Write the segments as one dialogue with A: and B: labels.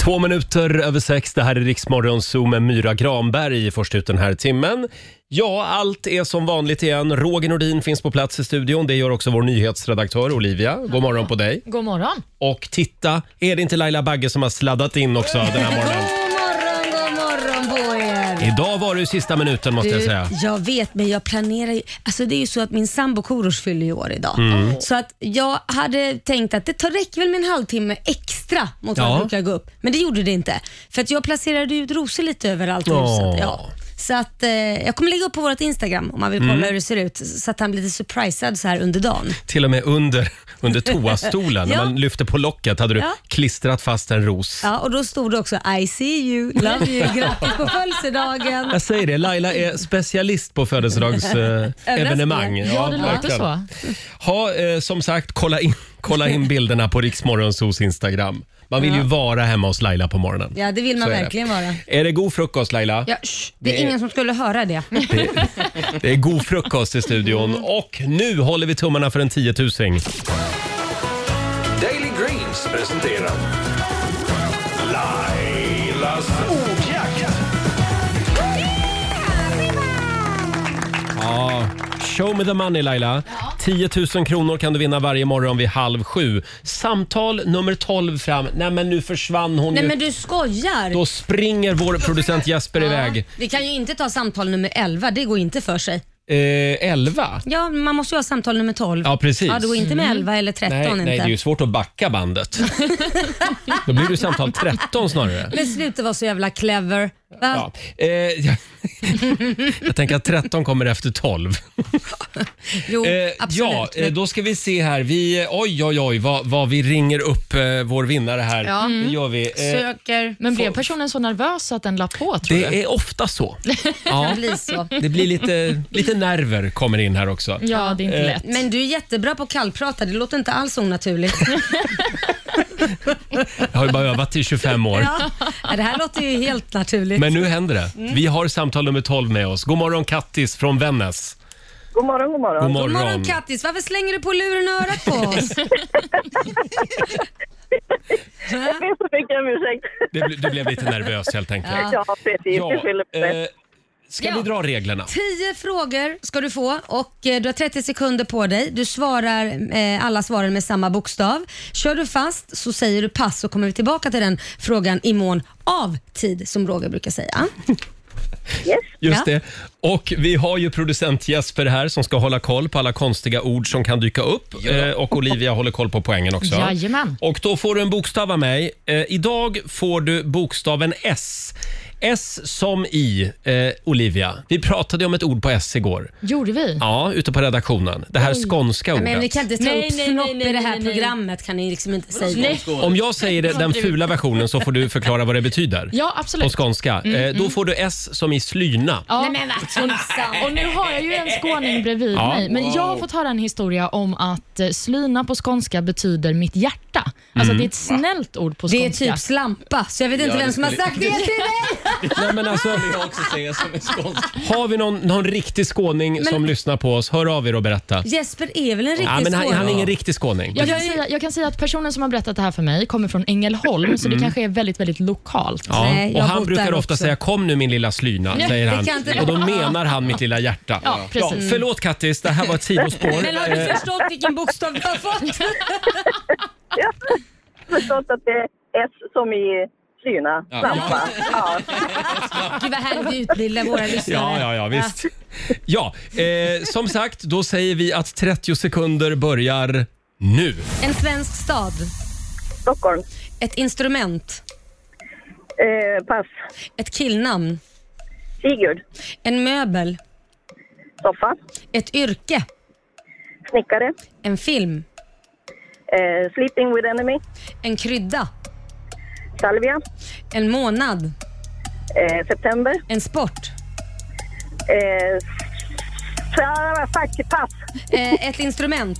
A: Två minuter över sex, det här är Riksmorgon Zoo med Myra Granberg först ut den här timmen. Ja, allt är som vanligt igen. Roger Nordin finns på plats i studion. Det gör också vår nyhetsredaktör Olivia. God morgon på dig.
B: God morgon.
A: Och titta, är det inte Laila Bagge som har sladdat in också den här morgonen?
C: God morgon, god morgon på er!
A: Idag var det ju sista minuten måste jag
C: Du,
A: säga.
C: jag vet, men jag planerar ju. Alltså det är ju så att min sambo Korosh fyller ju år idag.
A: Mm.
C: Så att jag hade tänkt att det tar räcker väl med en halvtimme extra mot vad
A: Ja.
C: jag brukar gå upp. Men det gjorde det inte. För att jag placerade ut rosor lite överallt i
A: Åh.
C: huset. Ja. Så att eh, jag kommer lägga upp på vårt Instagram om man vill kolla
A: Mm.
C: hur det ser ut. Så att han blir lite surprisad så här under dagen.
A: Till och med under, under toastolen, när
C: Ja.
A: man lyfte på locket, hade du
C: Ja.
A: klistrat fast en ros.
C: Ja, och då stod det också I see you, love you, grattis på födelsedagen.
A: Jag säger det, Laila är specialist på eh, födelsedagsevenemang. Ha, eh, som sagt, kolla in, kolla in bilderna på Riksmorgonsos Instagram. Man vill ju
C: Ja.
A: vara hemma hos Laila på morgonen.
C: Ja, det vill man
A: Så är det.
C: verkligen vara.
A: Är det god frukost Laila?
C: Ja, shh, det,
A: Det
C: är
A: är-
C: ingen som skulle höra det.
A: Det är god frukost i studion
C: Mm.
A: och nu håller vi tummarna för en tiotusing.
D: Daily Greens presenterar Lailas ordjakt.
A: Ja, show me the money Laila. 10 000 kronor kan du vinna varje morgon vid halv sju. Samtal nummer 12 fram. Nej men nu försvann hon
C: Nej
A: ju.
C: men du skojar.
A: Då springer vår producent Jesper iväg.
C: Vi kan ju inte ta samtal nummer 11, det går inte för sig.
A: Eh, 11?
C: Ja, man måste ju ha samtal nummer 12.
A: Ja, precis.
C: Ja, det går inte med
A: Mm.
C: 11 eller 13
A: nej,
C: inte.
A: nej, det är ju svårt att backa bandet. Då blir det ju samtal 13 snarare.
C: Men sluta vara så jävla clever. Va?
A: Ja. Eh, jag, jag tänker att 13 kommer efter 12.
C: Jo,
A: Eh,
C: absolut.
A: ja, eh,
C: Men-
A: då ska vi se här. Vi, oj, oj, oj vad, vad vi ringer upp eh, vår vinnare här.
B: Ja.
A: Det
C: Mm.
A: gör vi. Eh,
B: Söker. Men blev personen så nervös att den la på tror du?
A: det är ofta så.
C: Det blir så.
A: Det blir lite, lite nerver kommer in här också.
B: Ja, det är inte
A: Eh,
B: lätt.
C: Men du är jättebra på kallprata, det låter inte alls onaturligt.
A: Jag har ju bara övat i 25 år.
C: ja. Ja, Det här låter ju helt naturligt.
A: Men nu händer det. Vi har samtal nummer 12 med oss. God morgon Kattis från Vännäs.
E: God morgon, god morgon.
A: God
C: God
A: morgon.
C: morgon Kattis, varför slänger du på luren och örat på oss?
E: Jag ber så mycket om ursäkt.
A: Det, bl- du blev lite nervös helt enkelt.
E: Ja, precis. Du skyller på
A: eh,
E: det.
A: ska
C: Ja.
A: vi dra reglerna?
C: 10 frågor ska du få och eh, du har 30 sekunder på dig. Du svarar eh, alla svaren med samma bokstav. Kör du fast så säger du pass så kommer vi tillbaka till den frågan i mån av tid som Roger brukar säga.
E: Yes.
A: Just
C: Ja.
A: det. Och vi har ju producent Jesper här som ska hålla koll på alla konstiga ord som kan dyka upp. Eh, och Olivia håller koll på poängen också.
B: Jajamän.
A: Och då får du en bokstav av mig. Eh, idag får du bokstaven S. S som i eh, Olivia. Vi pratade om ett ord på S igår.
B: Gjorde vi?
A: Ja, ute på redaktionen. Det här skånska
C: Mm. Nej,
A: ordet.
C: men ni kan inte ta
B: Nej,
C: upp
B: nej,
C: snopp
B: nej, nej,
C: i det här
B: nej, nej.
C: programmet kan ni liksom inte säga.
A: Om jag säger det, den fula versionen så får du förklara vad det betyder.
B: Ja,
A: På
B: absolut.
A: skånska. eh, då får du S som i slyna.
B: Ja.
C: Nej men vad tusan.
B: Och nu har jag ju en skåning bredvid
A: Ja.
B: mig, men jag har fått höra en historia om att eh, slyna på skånska betyder mitt hjärta. Alltså
A: Mm.
B: det är ett snällt ord på
C: Det är
B: skånska.
C: typ slampa, så jag vet inte
F: Ja,
C: vem
F: det
C: som har
F: skulle-
C: sagt det till dig.
A: Nej, men alltså,
F: jag också säga som en skånsk.
A: har vi någon, någon riktig skåning som lyssnar på oss, hör av er och berätta.
C: Jesper är väl en riktig
A: Ja, men han, han är
C: skåning?
A: ingen riktig skåning.
B: Jag kan, säga, jag kan säga att personen som har berättat det här för mig kommer från Ängelholm, så det kanske är väldigt, väldigt lokalt.
A: Mm. Ja,
C: Nej, jag
A: och
C: har
A: han
C: bott
A: brukar
C: där
A: ofta
C: också.
A: säga “Kom nu min lilla slyna”,
B: Nej,
A: säger
C: det
A: han.
C: kan inte
A: Och då
C: vara.
A: menar han mitt lilla hjärta.
B: Ja, precis.
A: förlåt Kattis, det här var ett sidospår.
C: Men har du
A: Eh,
C: förstått vilken bokstav du har fått?
E: Ja. Förstått att det är S som i Slyna.
F: Ja.
E: Slampa. Ja.
C: Gud vad härligt vi utbildar våra lyssnare.
A: Ja, ja, ja, visst. Ja, eh, som sagt, då säger vi att 30 sekunder börjar nu.
C: En svensk stad,
E: Stockholm.
C: ett instrument,
E: Eh, pass.
C: ett killnamn,
E: Sigurd.
C: en möbel,
E: Soffa.
C: ett yrke,
E: Snickare.
C: en film,
E: Eh, sleeping with enemy.
C: en krydda,
E: Salvia.
C: en månad,
E: Eh, september.
C: en sport,
E: Eh, sa- fuck, pass.
C: eh, ett instrument.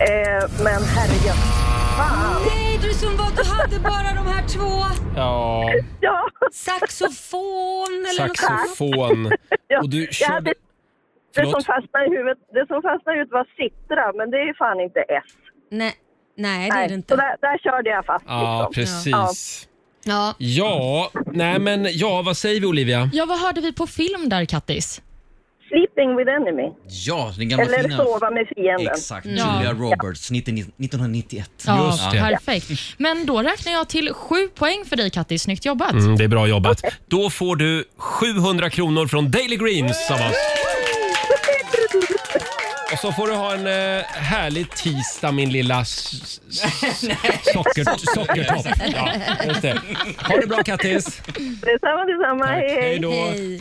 E: Eh, men herregud. Fan.
C: Nej du som var, du hade bara de här två.
A: Ja,
E: Ja.
C: Saxofon eller något sånt.
A: saxofon.
E: ja.
A: Och du
E: Jag hade-
A: körde...
E: det, som
A: Förlåt?
E: fastnade i huvudet, det som fastnade i huvudet var sittra, men det är ju fan inte S.
C: Nej, nej det är det
E: Så
C: inte.
E: där, där körde jag fast.
A: Ja,
E: liksom. Ja.
A: precis.
C: Ja.
A: Ja, nej men ja, vad säger vi Olivia? Mm,
B: Ja, vad hörde vi på film där, Kattis?
E: Sleeping with enemy.
F: Ja, den gamla
E: Eller
F: fina...
E: sova med fienden.
F: Exakt,
B: Mm. Ja.
F: Julia Roberts 19, 1991.
B: Ja,
A: Just det.
B: Perfekt. Men då räknar jag till sju poäng för dig, Kattis. Snyggt jobbat.
A: Mm, det är bra jobbat. Då får du 700 kronor från Daily Greens av oss. Och så får du ha en eh, härlig tisdag min lilla s- s- socker, sockertopp. Ja, just det. Ha det bra Kattis.
E: Detsamma, detsamma. Hej,
A: Hej
E: hej.
A: då.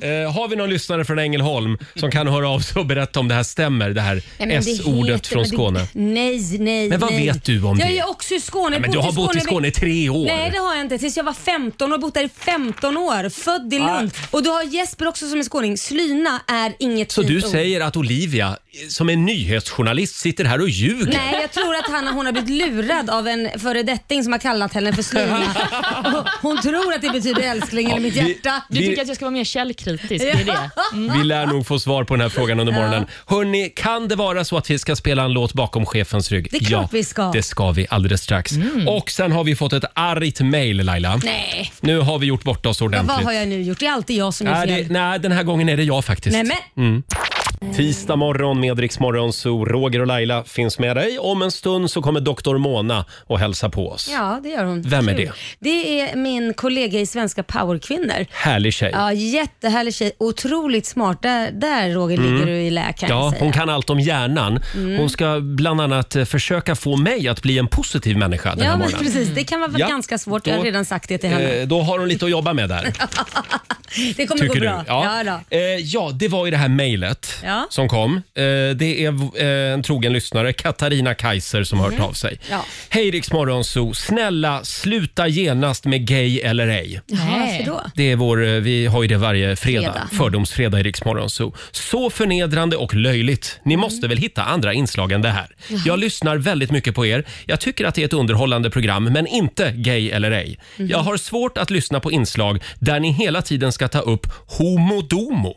A: Eh, har vi någon lyssnare från Ängelholm som kan höra av sig och berätta om det här stämmer? Det här
C: Nej, men det
A: S-ordet
C: heter-
A: från
C: men det-
A: Skåne.
C: Nej, nej,
A: Men vad
C: nej.
A: vet du om
C: Jag
A: det?
C: är också i Skåne.
A: Nej,
C: Jag
A: men du har bott i Skåne i tre år.
C: Nej, det har jag inte. Tills jag var 15 och bott där i 15 år. Född i
A: Ah.
C: Lund. Och du har Jesper också som är skåning. Slyna är inget
A: Så
C: fint
A: du
C: ord.
A: säger att Olivia, eh, som är nyhetsjournalist, sitter här och ljuger?
C: Nej, jag tror att han, hon har blivit lurad av en föredetting som har kallat henne för slyna. Och Hon tror att det betyder älskling eller mitt
A: Ja, vi-
C: hjärta.
B: Du
A: Vi-
B: tycker att jag ska vara mer källkritisk. Det är det.
A: Vi lär nog få svar på den här frågan under morgonen. Hörni, kan det vara så att vi ska spela en låt bakom chefens rygg?
C: Det är klart vi ska. Mm.
A: det ska vi alldeles strax. Och sen har vi fått ett argt mejl Laila.
C: Nej,
A: Nu har vi gjort bort oss
C: ja,
A: ordentligt.
C: vad har jag nu gjort? Det är alltid jag som gör
A: Nej,
C: fel.
A: det, Mm. nej, den här gången är det jag faktiskt.
C: Nej, men,
A: Tisdag morgon med Rix Morgon, så Roger och Laila finns med dig. Om en stund så kommer Dr. Mona och hälsa på oss.
C: ja, det gör hon.
A: Vem är
C: Kul.
A: det?
C: Det är min kollega i Svenska powerkvinnor.
A: Härlig tjej.
C: Ja, jättehärlig tjej. Otroligt smart. Där, där Roger, ligger du i lä kan jag
A: Mm.
C: Mm.
A: Ja,
C: säga.
A: hon kan allt om hjärnan. Hon ska bland annat eh, försöka få mig att bli en positiv människa den här
C: Ja, men
A: morgonen. Mm.
C: precis. Det kan vara
A: Ja.
C: ganska svårt. Jag
A: Då-
C: har redan sagt det till henne.
A: Eh, Då har hon lite att jobba med där,
C: det kommer gå
A: tycker du?
C: bra. Ja. då.
A: Eh, ja, det var ju det här mejlet
C: Ja.
A: som kom. Eh, det är v- eh, en trogen lyssnare, Katarina Kaiser, som har hört av sig.
C: Mhm. Ja.
A: Hej Rix Morgonzoo, snälla sluta genast med gay eller ej.
C: Jaha,
B: Nej.
C: varför då?
A: Det är vår, eh, vi har ju det varje fredag,
C: Fredag.
A: fördomsfredag i Rix Morgonzoo. Så förnedrande och löjligt. Ni måste väl hitta andra inslag än det här. Jag lyssnar väldigt mycket på er. Jag tycker att det är ett underhållande program, men inte gay eller ej. Jag har svårt att lyssna på inslag där ni hela tiden ska ta upp homodomo.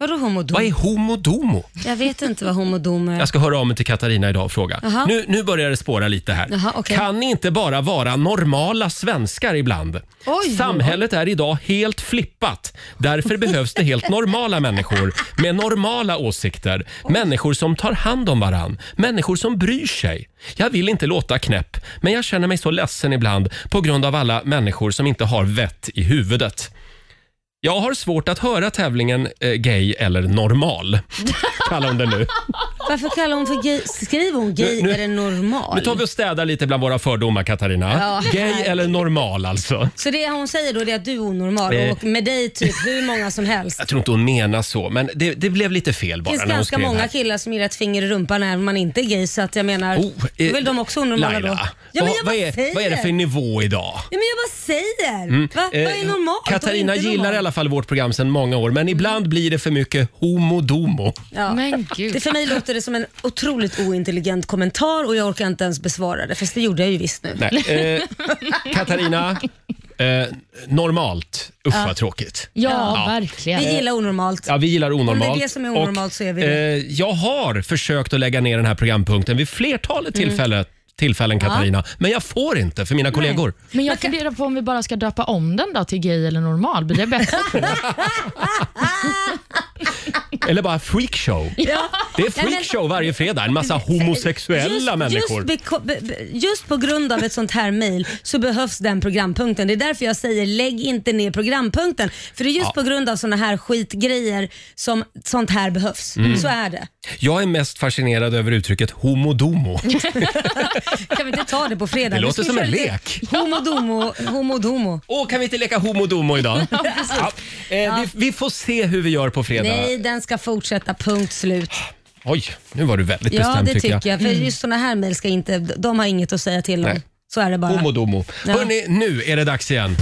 C: Vadå homodom?
A: Vad är homodomo?
C: Jag vet inte vad homodom är.
A: Jag ska höra av mig till Katarina idag och fråga.
C: eh, Jaha.
A: Nu, nu börjar det spåra lite här.
C: Jaha, okej.
A: Kan ni inte bara vara normala svenskar ibland?
C: Oj.
A: Samhället är idag helt flippat. Därför behövs det helt normala människor med normala åsikter. Människor som tar hand om varann. Människor som bryr sig. Jag vill inte låta knäpp, men jag känner mig så ledsen ibland på grund av alla människor som inte har vett i huvudet. Jag har svårt att höra tävlingen eh, gay eller normal. Kallar hon det nu.
C: Varför kallar hon för gay? Skriver hon gay
A: nu-
C: är det
A: Nu
C: normal?
A: tar vi och städar lite bland våra fördomar Katarina.
C: Ja.
A: Gay eller normal alltså?
C: Så det hon säger då det är att du är onormal
A: Eh.
C: och med dig typ hur många som helst.
A: Jag tror inte hon menar så, men det, det blev lite fel
C: Det
A: bara
C: finns
A: när hon
C: ganska
A: skrev
C: många
A: här.
C: killar som ger ett finger i rumpan när man inte är gay så att jag menar,
A: Oh,
C: då är
A: eh,
C: väl de också onormala då?
A: Laila,
C: Ja, men
A: vad,
C: jag
A: vad,
C: bara
A: är,
C: säger.
A: vad är det för nivå idag?
C: Ja, men jag bara säger. Va? Vad är
A: Eh,
C: normalt? och
A: Katarina
C: inte
A: gillar i
C: normalt? Mm.
A: alla fall vårt program sedan många år, men ibland blir det för mycket homodomo.
C: Ja.
B: Men
C: Det
B: gud.
C: för mig låter det som en otroligt ointelligent kommentar och jag orkar inte ens besvara det, fast det gjorde jag ju visst nu.
A: Nej, eh, Katarina, eh, normalt. Usch vad tråkigt.
B: Ja, verkligen.
A: Eh,
C: Vi gillar onormalt.
A: Ja, vi gillar onormalt.
C: Om det är det som är onormalt så är vi det.
A: Eh, jag har försökt att lägga ner den här programpunkten vid flertalet
C: Mm.
A: tillfällen, tillfällen Katarina, men jag får inte för mina kollegor.
B: Men jag funderar på om vi bara ska döpa om den då till gay eller normal. Blir det bättre?
A: Eller bara freakshow.
C: Ja.
A: Det är
C: men-
A: freakshow varje fredag, en massa homosexuella människor.
C: Just, beko- be, be, just på grund av ett sånt här mejl så behövs den programpunkten. Det är därför jag säger lägg inte ner programpunkten. För det är just på grund av såna här skitgrejer som sånt här behövs.
A: Mm.
C: Så är det.
A: Jag är mest fascinerad över uttrycket homodomo.
C: Kan vi inte ta det på fredag?
A: Det
C: Nu
A: låter
C: ska vi
A: som
C: köra
A: en
C: lite
A: lek.
C: Homodomo, homodomo.
A: Åh, kan vi inte leka homodomo idag? ja, eh, Vi, vi får se hur vi gör på fredag.
C: Nej, den ska fortsätta, punkt slut.
A: Oj, nu var du väldigt
C: Ja,
A: bestämd
C: det tycker jag. För just såna här mejl ska inte, de har inget att säga till
A: Nej.
C: om. Så är det bara.
A: Homodomo.
C: Ja.
A: Hörni, nu är det dags igen.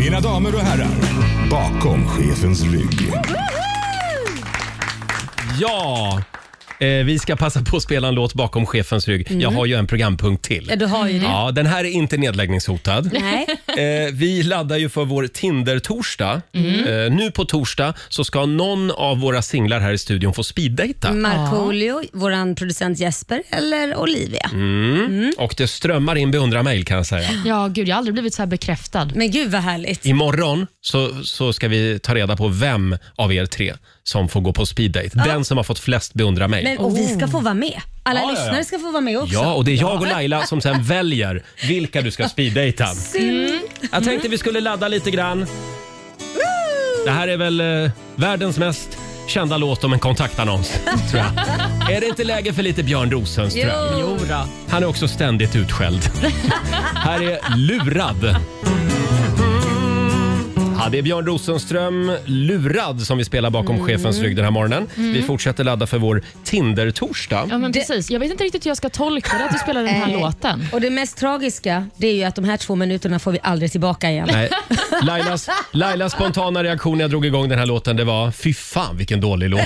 G: Mina damer och herrar, bakom chefens rygg.
A: Ja, eh, vi ska passa på att spela en låt bakom chefens rygg. Jag har ju en programpunkt till.
C: Ja, du har ju Mm. det.
A: Ja, den här är inte nedläggningshotad.
C: Nej.
A: Eh, vi laddar ju för vår Tinder-torsdag.
C: Mm.
A: Eh, nu på torsdag så ska någon av våra singlar här i studion få speeddejta.
C: Mm. Markoolio, våran producent Jesper eller Olivia.
A: Och det strömmar in beundrarmail kan jag säga.
B: Ja, gud, jag har aldrig blivit så här bekräftad.
C: Men gud vad härligt.
A: Imorgon så, så ska vi ta reda på vem av er tre som får gå på speeddate. Den som har fått flest beundrarmail.
C: Men, och vi ska få vara med. Alla
A: Ja, ja, ja.
C: lyssnare ska få vara med också.
A: Ja, och det är jag och Laila som sen väljer vilka du ska speeddejta.
C: Mm.
A: Jag tänkte vi skulle ladda lite grann. Det här är väl eh, världens mest kända låt om en kontaktannons, tror jag. Är det inte läge för lite Björn Rosenström?
B: Jo då.
A: Han är också ständigt utskälld. Här är Lurad. Ja, det är Björn Rosenström, Lurad, som vi spelar bakom chefens rygg den här morgonen. Vi fortsätter ladda för vår Tinder-torsdag.
B: Mm. Ja, men precis. Jag vet inte riktigt hur jag ska tolka det att du spelar den här
C: Eh,
B: låten.
C: Och det mest tragiska det är ju att de här två minuterna får vi aldrig tillbaka igen.
A: Nej. Lailas, Lailas spontana reaktion när jag drog igång den här låten det var fy fan vilken dålig låt.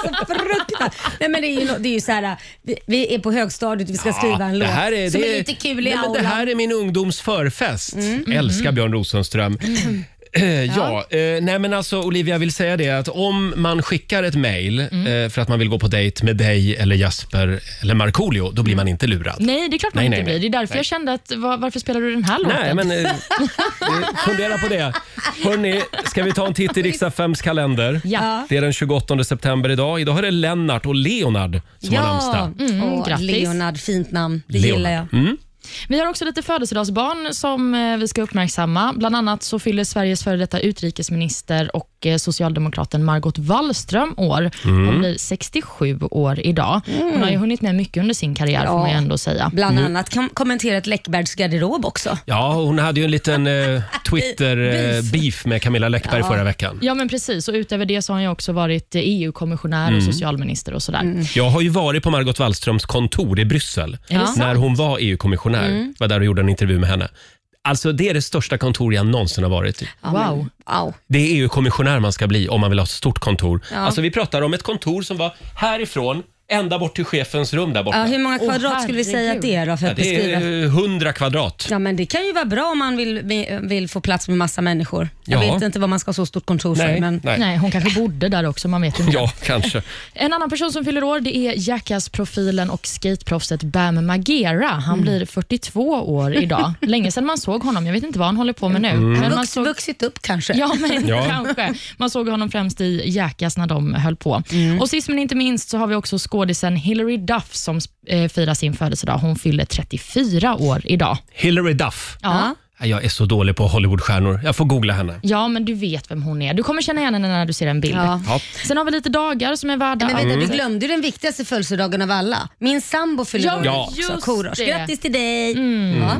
C: Fruktansvärt. Nej, men det är ju, no- det är ju så här, vi, vi är på högstadiet och vi ska skriva en
A: det
C: låt
A: här är,
C: som
A: det,
C: är lite kul i Mm.
A: nej, men
C: aulan.
A: Det här är min ungdoms förfest. Älskar Björn Rosenström.
C: Mm.
A: Eh, Ja, eh, nej men alltså Olivia jag vill säga det att om man skickar ett mail
C: Mm.
A: eh, för att man vill gå på dejt med dig eller Jasper eller Markoolio, då blir man inte lurad.
B: Nej, det är klart man
A: Nej,
B: inte
A: nej,
B: blir.
A: nej.
B: Det är därför jag kände att va- varför spelar du den här låten?
A: Nej, men eh, eh, fundera på det. Hörni, ska vi ta en titt i riksdagsfems kalender?
B: Ja.
A: Det är den 28 september idag. Idag är det Lennart och Leonard som har namnsdag.
C: Mm,
B: Mm,
C: Åh,
B: grattis.
C: Leonard, fint namn. Det
A: Leonard.
C: gillar jag.
A: Mm.
B: Vi har också lite födelsedagsbarn som eh, vi ska uppmärksamma. Bland annat så fyller Sveriges före detta utrikesminister och eh, socialdemokraten Margot Wallström år. Hon blir 67 år idag. Hon har ju hunnit med mycket under sin karriär, får man ju ändå säga.
C: Bland
A: Mm.
C: annat kan kommentera ett Läckbergs garderob också.
A: Ja, hon hade ju en liten eh, Twitter-beef med Camilla Läckberg förra veckan.
B: Ja, men precis. Och utöver det så har han ju också varit eh, EU-kommissionär och socialminister och sådär.
A: Jag har ju varit på Margot Wallströms kontor i Bryssel
B: Är det
A: när hon var EU-kommissionär.
C: Mm.
A: var där och gjorde en intervju med henne. Alltså Det är det största kontor jag någonsin har varit i.
B: Wow.
C: Au.
A: Det är EU-kommissionär man ska bli om man vill ha ett stort kontor. Alltså Vi pratar om ett kontor som var härifrån ända bort till chefens rum där borta.
C: Ja, hur många
B: Åh,
C: kvadrat skulle vi säga att det är då för att
A: det
C: beskriva?
A: är eh, 100 kvadrat.
C: Ja, men det kan ju vara bra om man vill, vill få plats med massa människor. Jag
A: Ja.
C: vet inte vad man ska ha så stort kontor för. Men...
A: nej.
B: Nej, hon kanske bodde där också, man vet ju inte.
A: Ja, kanske.
B: En annan person som fyller år det är Jackass-profilen och skateproffset Bam Margera. Han blir 42 år idag. Länge sedan man såg honom. Jag vet inte vad han håller på med nu. Men man
C: Vux,
B: såg...
C: Vuxit upp kanske.
B: Ja, men
A: Ja.
B: kanske. Man såg honom främst i Jackass när de höll på. Och Sist men inte minst så har vi också skådisen Hilary Duff som eh, firar sin födelsedag. Hon fyller 34 år idag.
A: Hillary Duff.
B: Ja.
A: Nej, Jag är så dålig på Hollywoodstjärnor. Jag får googla henne.
B: ja, men du vet vem hon är. Du kommer känna igen henne när du ser en bild.
C: Ja.
A: Ja.
B: Sen har vi lite dagar som är värda
C: Men vänta,
B: att-
C: du glömde ju den viktigaste födelsedagen av alla. Min sambo fyller
B: Ja,
C: år
A: Ja.
C: också.
B: just
C: Korosh.
B: det.
C: Grattis till dig! Mm. Ja.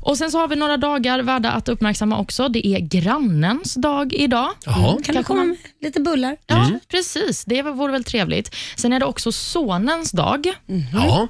B: Och Sen så har vi några dagar värda att uppmärksamma också. Det är grannens dag idag.
A: Jaha. Mm.
C: Kan du komma med lite bullar?
B: Ja, precis. Det vore väl trevligt. Sen är det också sonens dag.
A: Ja.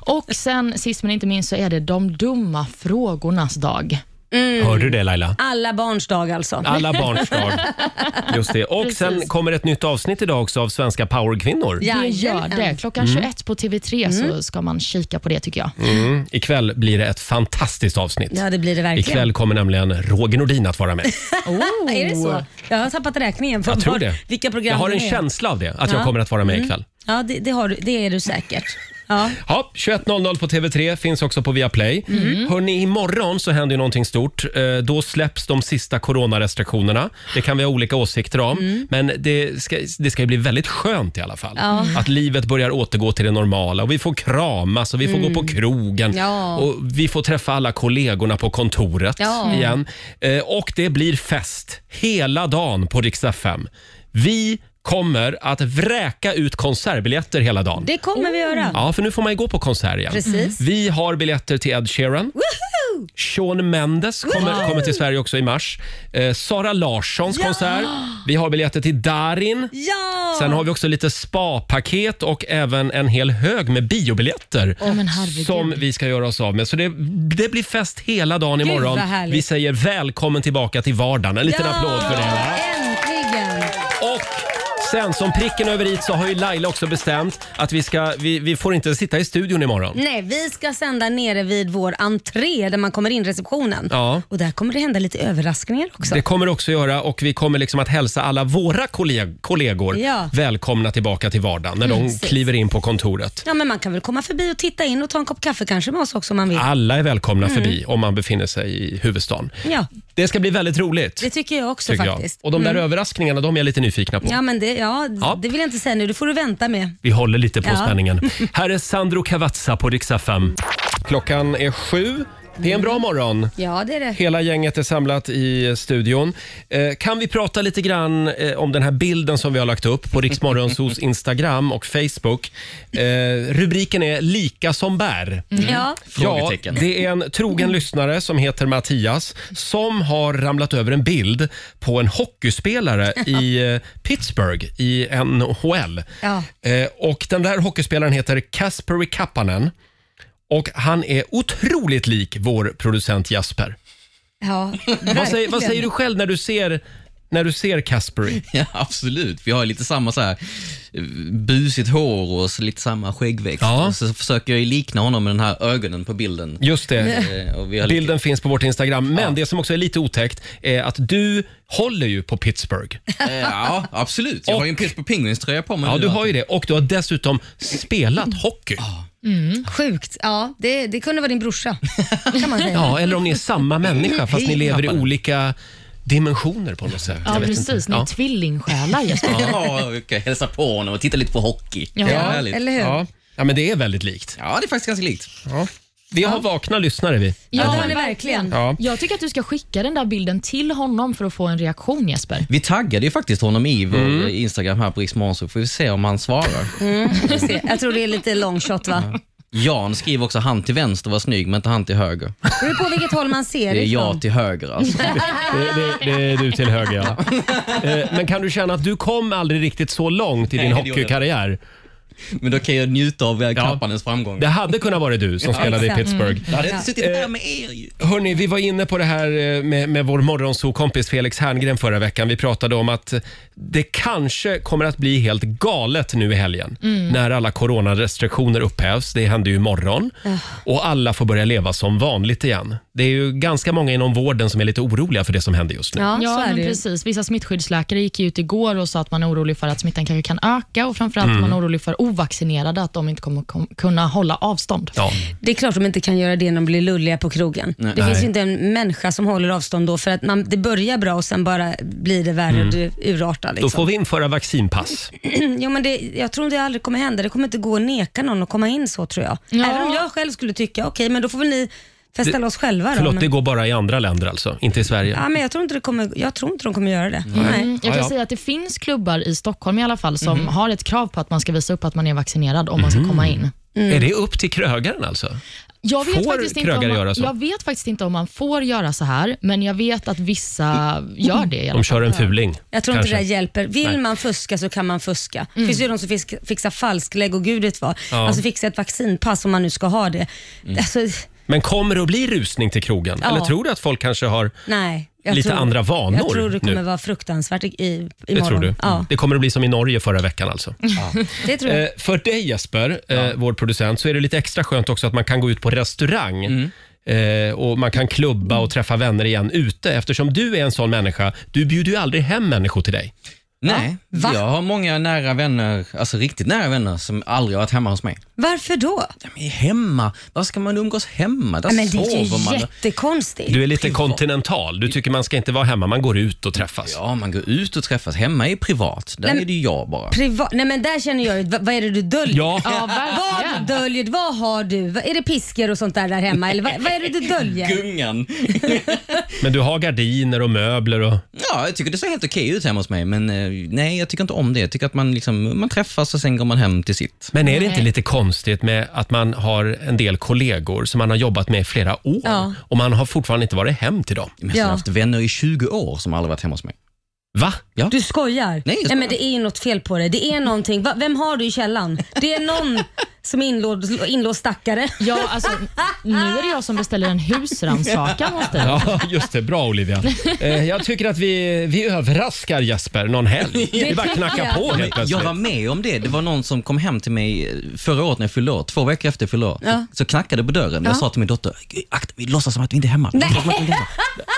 B: Och sen sist men inte minst så är det de dumma frågornas dag.
C: Mm.
A: Hörde du det Laila?
C: Alla barns dag alltså.
A: Alla barns dag. Just det. Och sen
B: Precis.
A: kommer ett nytt avsnitt idag också av Svenska powerkvinnor.
B: Det gör
C: Jajamän.
B: det. Klockan 21 på TV3 så ska man kika på det tycker jag.
A: Mm. Ikväll blir det ett fantastiskt avsnitt.
C: Ja, det blir det verkligen.
A: Ikväll kommer nämligen Roger Nordin att vara med.
B: Oh.
C: Är det så? Jag har tappat räkningen på
A: Jag tror
C: var-
A: det.
C: vilka program
A: Jag har
C: det
A: en
C: är.
A: känsla av det, att jag
C: Ja. Mm.
A: kommer att vara med ikväll.
C: Ja, det, det, har du, det är du säkert. Ja.
A: Ja, 21.00 på TV3, finns också på Viaplay.
C: Mm.
A: Hörni, imorgon så händer ju någonting stort. Eh, Då släpps de sista coronarestriktionerna. Det kan vi ha olika åsikter om,
C: Mm.
A: men det ska, det ska ju bli väldigt skönt i alla fall. Att livet börjar återgå till det normala och vi får kramas och vi får gå på krogen
C: Mm. Ja.
A: och vi får träffa alla kollegorna på kontoret
C: Ja.
A: igen. Eh, Och det blir fest hela dagen på riksdag 5. Vi kommer att vräka ut konsertbiljetter hela dagen.
C: Det kommer vi göra.
A: Ja, Mm. för nu får man ju gå på konsert igen.
C: Precis.
A: Vi har biljetter till Ed Sheeran.
C: Woho!
A: Sean Mendes kommer, kommer till Sverige också i mars. Eh, Sara Larssons konsert. Vi har biljetter till Darin.
C: Ja!
A: Sen har vi också lite spapaket och även en hel hög med biobiljetter
B: men herregud.
A: som vi ska göra oss av med. Så det, det blir fest hela dagen imorgon.
C: vad härligt.
A: Vi säger välkommen tillbaka till vardagen. En liten applåd för det.
C: Äntligen!
A: Och Sen som pricken över i så har ju Laila också bestämt att vi, ska, vi, vi får inte sitta i studion imorgon.
C: Nej, vi ska sända nere vid vår entré där man kommer in i receptionen.
A: Ja.
C: Och där kommer det hända lite överraskningar också.
A: Det kommer det också göra och vi kommer liksom att hälsa alla våra kolleg- kollegor
C: Ja.
A: välkomna tillbaka till vardagen när de
C: precis.
A: kliver in på kontoret.
C: Ja, men man kan väl komma förbi och titta in och ta en kopp kaffe kanske med oss också om man vill.
A: Alla är välkomna förbi om man befinner sig i huvudstaden.
C: Mm. Ja,
A: Det ska bli väldigt roligt.
C: det tycker jag också
A: tycker jag.
C: faktiskt. Mm.
A: Och de där överraskningarna, de är jag lite nyfikna på.
C: Ja, men det, ja,
A: Ja.
C: det vill jag inte säga nu. Det får du vänta med.
A: Vi håller lite på
C: Ja.
A: spänningen. Här är Sandro Cavazza på Rix FM. Klockan är sju. Det är en bra morgon.
C: Ja, det är det.
A: Hela gänget är samlat i studion. Eh, kan vi prata lite grann eh, om den här bilden som vi har lagt upp på Riksmorgonsos Instagram och Facebook? Eh, rubriken är “Lika som bär”.
C: Ja.
A: Ja,
F: Frågetecken.
A: det är en trogen lyssnare som heter Mattias som har ramlat över en bild på en hockeyspelare i eh, Pittsburgh i NHL.
C: Ja.
A: Eh, Och den där hockeyspelaren heter Kasperi Kappanen och han är otroligt lik vår producent Jasper.
C: ja
A: Vad säger, vad säger du själv när du ser när du ser Kasperi?
F: Ja, absolut. Vi har lite samma så här eh, busigt hår och så lite samma skäggväxt.
A: Ja.
F: Och så försöker jag ju likna honom med den här ögonen på bilden.
A: Just det.
F: Eh, Och vi har lite-
A: Bilden finns på vårt Instagram, men det som också är lite otäckt är att du håller ju på Pittsburgh.
F: Eh, Ja, absolut. Jag har ju en Pittsburgh Penguins-tröja på mig
A: Ja,
F: nu.
A: du har ju det. Och du har dessutom spelat hockey.
C: Sjukt. Ja, det, det kunde vara din brorsa. Kan man säga.
A: Ja, eller om ni är samma människa fast ni lever i
F: Tappade.
A: olika dimensioner på något sätt.
B: Ja,
A: Jag vet
B: precis.
A: inte.
B: Ni är
A: Ja.
B: tvillingsjälar just nu.
F: Ja, vi kan hälsa på honom och titta lite på hockey.
B: Ja.
F: Det är härligt.
C: Eller hur?
A: Ja. ja, men det är väldigt likt.
F: Ja, det är faktiskt ganska likt.
A: Vi har vakna lyssnare vi.
C: Ja, det har
B: men
C: ni verkligen.
A: Ja.
B: Jag tycker att du ska skicka den där bilden till honom för att få en reaktion Jesper.
F: Vi taggade ju faktiskt honom i vår
A: Mm.
F: Instagram här på Riksmorgon, så får vi se om han svarar.
C: Får se. Jag tror det är lite long shot va?
F: Jan skriver också han till vänster var snygg, men inte han till höger.
C: Det beror på vilket håll man ser
F: Det är
C: ifrån.
F: jag till höger alltså.
A: Det, det, det är du till höger ja. Eh, Men kan du känna att du kom aldrig riktigt så långt i din
F: Nej, det gjorde jag inte.
A: hockeykarriär?
F: Men då kan jag njuta av eh, Kappanens framgång.
A: Det hade kunnat vara du som spelade i
C: exakt. Mm.
A: Pittsburgh.
F: Jag hade inte suttit här med er ju.
A: Hörni, vi var inne på det här eh, med, med vår morgonsokompis Felix Herngren förra veckan. Vi pratade om att det kanske kommer att bli helt galet nu i helgen
C: Mm.
A: när alla coronarestriktioner upphävs. Det händer ju imorgon och alla får börja leva som vanligt igen. Det är ju ganska många inom vården som är lite oroliga för det som händer just nu.
C: Ja, så
B: Ja,
C: är
B: men
C: det ju.
B: precis. Vissa smittskyddsläkare gick ju ut igår och sa att man är orolig för att smittan kanske kan öka och framförallt
A: Mm.
B: är man orolig för ovaccinerade, att de inte kommer kom, kunna hålla avstånd.
A: Ja.
C: Det är klart de inte kan göra det när de blir lulliga på krogen. Det finns ju inte en människa som håller avstånd då för att man, det börjar bra och sen bara blir det värre och det urartar.
A: Mm. Då
C: Liksom.
A: får vi införa vaccinpass.
C: Jo, men det, jag tror det aldrig kommer hända. Det kommer inte gå att neka någon att komma in så tror jag.
B: Ja.
C: Även om jag själv skulle tycka, okej men då får väl ni festa loss själva då.
A: Förlåt, det
C: Men,
A: går bara i andra länder alltså, inte i Sverige.
C: ja, men jag, tror inte det kommer, jag tror inte de kommer göra det. Nej.
B: Mm, Jag kan
A: Ja, Mm-hmm. ja.
B: säga att det finns klubbar i Stockholm i alla fall som har ett krav på att man ska visa upp att man är vaccinerad om
A: Mm-hmm.
B: man ska komma in.
C: Mm.
A: Är det upp till krögaren alltså?
B: Jag vet,
A: Får
B: faktiskt inte om
A: krögare
B: man,
A: göra så?
B: jag vet faktiskt inte om man får göra så här, men jag vet att vissa gör det. I alla
A: De
B: fall.
A: kör en fuling.
C: Jag tror
A: kanske. Mm.
C: inte det där hjälper. Vill man fuska så kan man fuska. Det finns ju de som fisk- fixar falsklägg och gud vet vad. Alltså fixa ett vaccinpass om man nu ska ha det.
A: Mm.
C: Alltså,
A: Men kommer det att bli rusning till krogen?
C: Ja.
A: Eller tror du att folk kanske har
C: nej. Jag
A: Lite andra vanor
C: Jag tror det kommer
A: nu.
C: vara fruktansvärt i, i,
A: Det
C: imorgon.
A: tror du? Mm.
C: Ja, Mm.
A: Det kommer att bli som i Norge förra veckan alltså.
C: det tror jag.
A: Eh, för dig Jesper, eh, vår producent, så är det lite extra skönt också att man kan gå ut på restaurang. Eh, och Man kan klubba och träffa vänner igen ute eftersom du är en sån människa. Du bjuder ju aldrig hem människor till dig.
F: Nej,
C: Va?
F: jag har många nära vänner, alltså riktigt nära vänner, som aldrig har varit hemma hos mig.
C: Varför då?
F: Ja, men hemma, var ska man umgås hemma? Där
C: Nej, men det är
F: sover man.
C: ju jättekonstigt.
A: Du är lite kontinental. Du tycker man ska inte vara hemma, man går ut och träffas.
F: Ja, man går ut och träffas. Hemma är privat. Där
C: Nej,
F: är det ju jag bara.
C: Priva- Nej men där känner jag ju, vad, vad är det du döljer?
A: Ja.
B: Ja,
C: Vad
B: verkligen.
C: döljer du? Vad har du? Vad- Är det piskor och sånt där där hemma? Eller vad, vad är det du döljer?
F: Gungan.
A: Men du har gardiner och möbler och...
F: Ja, jag tycker det ser helt okej ut hemma hos mig, men eh, nej, jag tycker inte om det. Jag tycker att man, liksom, man träffas och sen går man hem till sitt.
A: Men är det inte lite konstigt med att man har en del kollegor som man har jobbat med i flera år
C: Ja.
A: och man har fortfarande inte varit hem till dem?
F: Men jag har
C: Ja.
F: haft vänner i 20 år som aldrig varit hemma hos mig.
A: Va?
F: Ja.
C: Du skojar?
F: Nej, jag skojar.
C: men det är ju något fel på dig. Det är någonting. Va, vem har du i källaren? Det är någon som är inlåst, inlåst stackare.
B: Ja, alltså, nu är det jag som beställer en husrannsakan hos dig.
A: Ja, just det. Bra Olivia. Eh, jag tycker att vi, vi överraskar Jesper någon helg. Vi bara knackar på helt
F: Men jag
A: plötsligt.
F: var med om det. Det var någon som kom hem till mig eh, förra året när jag fyllde år, två veckor efter jag fyllde år. Så knackade på dörren. Jag sa till min dotter, akta, vi låtsas som att vi inte är hemma. Vi låtsas som att vi inte är hemma.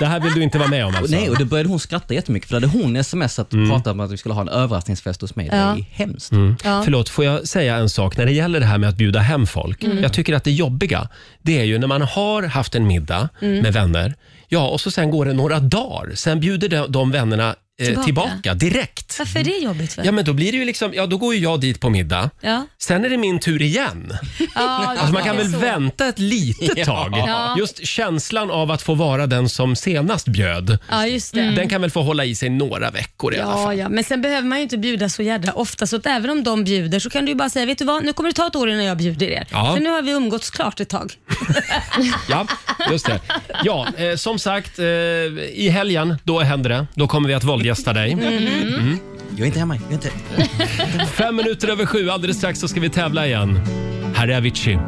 A: Det här vill du inte vara med om alltså?
F: Nej, och då började hon skratta jättemycket för då hade hon smsat och pratat om att vi skulle ha en överraskningsfest hos mig. Det är hemskt.
A: Förlåt, får jag säga en sak när det gäller det här med att bjuda hem folk? Jag tycker att det jobbiga, det är ju när man har haft en middag med vänner, ja, och så sen går det några dagar, sen bjuder de, de vännerna eh, tillbaka.
C: Tillbaka.
A: direkt.
C: Varför är det jobbigt? För?
A: Ja, men då blir det ju liksom, ja, då går ju jag dit på middag.
C: Ja.
A: Sen är det min tur igen. Alltså man kan väl vänta ett litet tag. Just känslan av att få vara den som senast bjöd,
C: Ja, just det.
A: den kan väl få hålla i sig några veckor i alla fall.
C: Ja, ja, men sen behöver man ju inte bjuda så jädra ofta så att även om de bjuder så kan du ju bara säga, vet du vad, nu kommer det ta ett år innan jag bjuder er.
A: Ja.
C: För nu har vi umgåtts klart ett tag.
A: Ja, just det. Ja, eh, som sagt, eh, i helgen, då händer det. Då kommer vi att våldgästa dig.
C: Mm.
F: Jag är inte hemma. Jag är inte...
A: Fem minuter över sju, alldeles strax så ska vi tävla igen. Här är Avicii.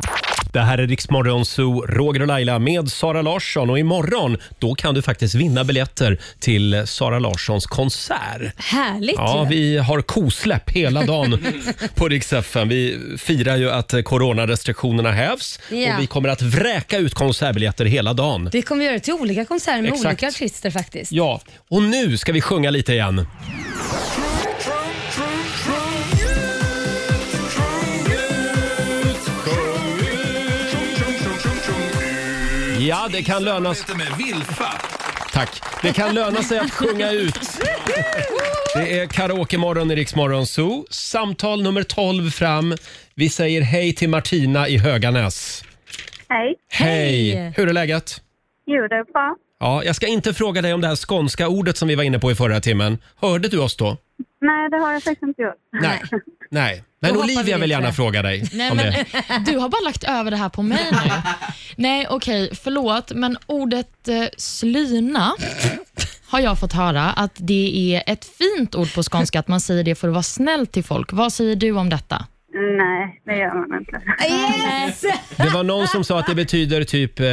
A: Det här är Riksmorgon Zoo, Roger och Laila med Sara Larsson. Och imorgon, då kan du faktiskt vinna biljetter till Sara Larssons konsert.
C: Härligt
A: Ja,
C: ju.
A: vi har kosläpp hela dagen på Rix FM. Vi firar ju att eh, coronarestriktionerna hävs
C: Ja.
A: och vi kommer att vräka ut konsertbiljetter hela dagen.
C: Vi kommer göra det till olika konserter med
A: Exakt.
C: olika artister faktiskt.
A: Ja, och nu ska vi sjunga lite igen. Ja, det kan löna sig.
D: Lite med Vilfa.
A: Tack. Det kan löna sig att sjunga ut. Det är karaokemorgon i Rix Morgon Zoo. Samtal nummer 12 fram. Vi säger hej till Martina i Höganäs.
E: Hej.
A: Hej!
C: Hej.
A: Hur är läget?
E: Jo, det är bra.
A: Ja, jag ska inte fråga dig om det här skånska ordet som vi var inne på i förra timmen. Hörde du oss då?
E: Nej, det har jag faktiskt inte gjort.
A: Nej. Nej. Men
C: Då hoppar
A: Olivia
C: vi
A: vill gärna
C: vidare.
A: fråga dig
B: Nej,
A: om
B: men,
A: det.
B: du har bara lagt över det här på mig nu. Nej, okej, förlåt, men ordet eh, slyna har jag fått höra att det är ett fint ord på skånska, att man säger det för att vara snäll till folk. Vad säger du om detta?
E: Nej, det gör man inte.
A: Det var någon som sa att det betyder typ eh,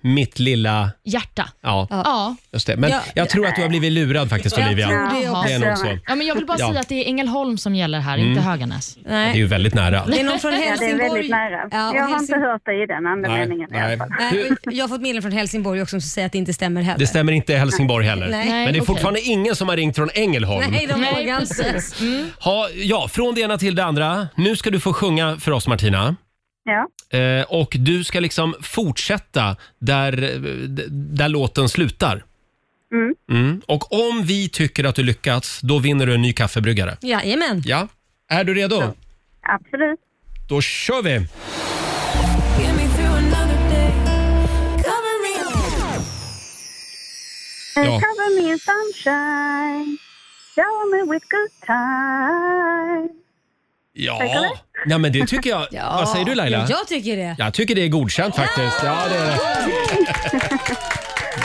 A: mitt lilla...
B: Hjärta.
A: Ja,
B: Ja.
A: just det. Men
C: Ja.
A: jag tror att du har blivit lurad faktiskt
C: Jag
A: Olivia.
C: tror det
B: Jaha.
C: också.
A: Det är nog så.
B: ja, men jag vill bara
A: Ja. Mm.
B: säga att det är Ängelholm som gäller här, inte Höganäs.
A: Det är ju
C: Nej.
A: väldigt nära.
C: Det är någon från
E: Ja, det är
C: Helsingborg.
E: väldigt nära.
C: Ja, och
E: jag har inte
C: Helsing...
E: hört det i den andra meningen i alla fall.
C: Nej, och jag har fått meddelanden från Helsingborg också som säger att det inte stämmer heller.
A: Det stämmer inte i Helsingborg heller.
C: Nej.
A: Men det är
B: okej.
A: fortfarande ingen som har ringt från Ängelholm.
C: Nej, de
B: Nej,
C: vågar inte.
B: precis. Mm.
A: Ha, ja, från det ena till det andra. Nu ska du få sjunga för oss Martina.
E: Ja.
A: Eh, och du ska liksom fortsätta där, eh, d- där låten slutar.
E: Mm.
A: Mm. Och om vi tycker att du lyckats, då vinner du en ny kaffebryggare.
C: Jajamän.
A: Ja, är du redo?
E: Absolut.
A: Då kör vi! Ja.
E: Cover me in sunshine. Shower me with good time.
A: Ja, ja men det tycker jag. Vad säger du Laila?
C: Jag tycker det.
A: Jag tycker det är godkänt faktiskt. Ja, det är det.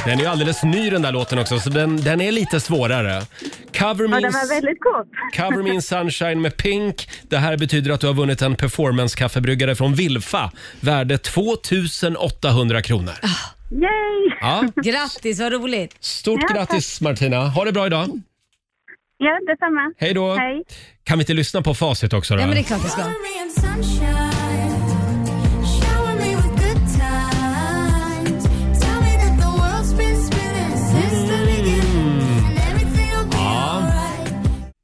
A: Den är ju alldeles ny den där låten också, så den, den är lite svårare. Cover me,
E: Och
A: in,
E: den var väldigt kort.
A: cover me in sunshine med Pink. Det här betyder att du har vunnit en performance-kaffebryggare från Vilfa. Värde 2800 kronor.
E: Yay!
A: Ja,
C: Grattis, vad roligt.
A: stort
E: Ja, tack.
A: grattis Martina. Ha det bra idag.
E: Ja, detsamma.
A: Hej då.
E: Hej.
A: Kan vi inte lyssna på facit också då?
C: Ja, men det är klart vi ska. Mm.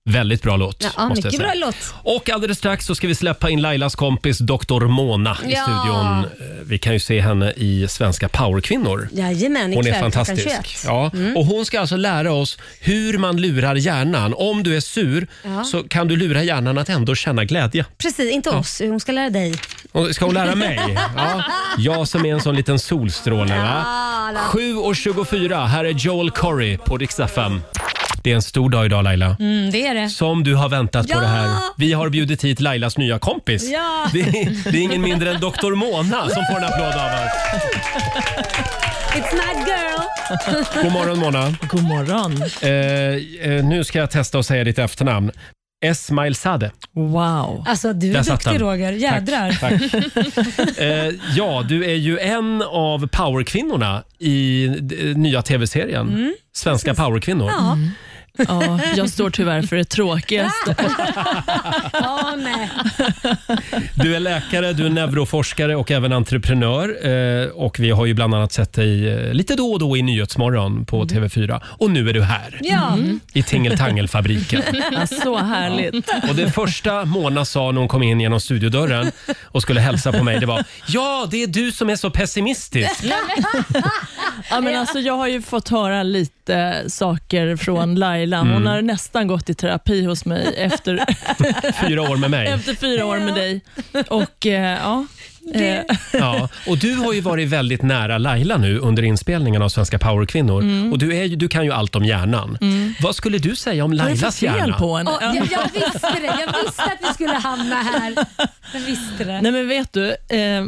A: Väldigt bra låt.
C: Ja,
A: måste jag
C: mycket
A: säga.
C: bra låt.
A: Och alldeles strax så ska vi släppa in Lailas kompis Dr. Mona i
C: Ja.
A: studion. Eh, Vi kan ju se henne i Svenska powerkvinnor.
C: Jajamän,
A: Hon är
C: ikväll klockan
A: fantastisk.
C: 21.
A: Ja.
C: Mm.
A: Och hon ska alltså lära oss hur man lurar hjärnan. Om du är sur så kan du lura hjärnan att ändå känna glädje.
C: Precis, inte oss. Hon ska lära dig.
A: Och Ska hon lära mig? Ja. Jag som är en sån liten solstråle. Va?
C: Ah.
A: 7.24, här är Joel Corry på Rix FM. Det är en stor dag idag Laila.
C: Mm, det är det.
A: Som du har väntat på
C: Ja!
A: det här. Vi har bjudit hit Lailas nya kompis.
C: Ja.
A: Det, är, det är ingen mindre än Dr. Mona som får en applåd av oss.
C: It's my girl.
A: God morgon Mona.
B: God morgon.
A: Eh, eh, nu ska jag testa att säga ditt efternamn. Esmail Sade.
B: Wow.
C: Alltså du är
A: Där satt
C: duktig
A: den.
C: Roger, jädrar.
A: Tack. Eh, ja, du är ju en av powerkvinnorna i d- nya tv-serien. Svenska powerkvinnor.
C: Mm, Ja.
H: Ja, jag står tyvärr för det tråkigaste.
C: Ja, nej.
A: Du är läkare, du är neuroforskare och även entreprenör. Eh, och vi har ju bland annat sett dig eh, lite då och då i Nyhetsmorgon
H: Mm.
A: på TV4. Och nu är du här
C: Ja.
A: i Tingeltangelfabriken.
H: Ja, så härligt.
A: Och det första Mona sa när hon kom in genom studiodörren och skulle hälsa på mig, det var “Ja, det är du som är så pessimistisk”.
H: Ja, men alltså, jag har ju fått höra lite saker från Laila.
A: Mm.
H: Hon har nästan gått i terapi hos mig efter,
A: Fyra år med mig.
H: efter fyra år med dig. Och eh, ja, eh,
A: Ja, och du har ju varit väldigt nära Laila nu under inspelningen av Svenska powerkvinnor.
H: Mm.
A: Och du, är, ju- du kan ju allt om hjärnan. Vad skulle du säga om
H: vad är det för
A: Lailas
H: fel
A: hjärna?
H: på henne?
C: Åh, jag, jag visste det, jag visste att vi skulle hamna här. Jag visste det.
H: Nej men vet du, eh, eh,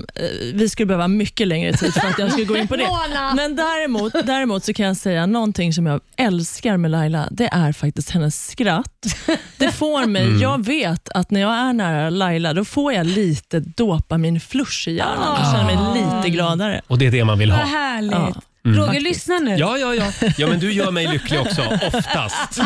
H: vi skulle behöva mycket längre tid för att jag skulle gå in på det.
C: Mona!
H: Men däremot, däremot så kan jag säga någonting som jag älskar med Laila, det är faktiskt hennes skratt. Det får mig,
A: Mm.
H: jag vet att när jag är nära Laila, då får jag lite dopaminflush i hjärnan. Jag känner mig lite gladare.
A: Och det är det man vill
C: Vad
A: ha.
C: härligt.
H: Ja.
C: Roger, lyssna nu.
A: Ja, ja, ja. Ja, men du gör mig lycklig också, oftast.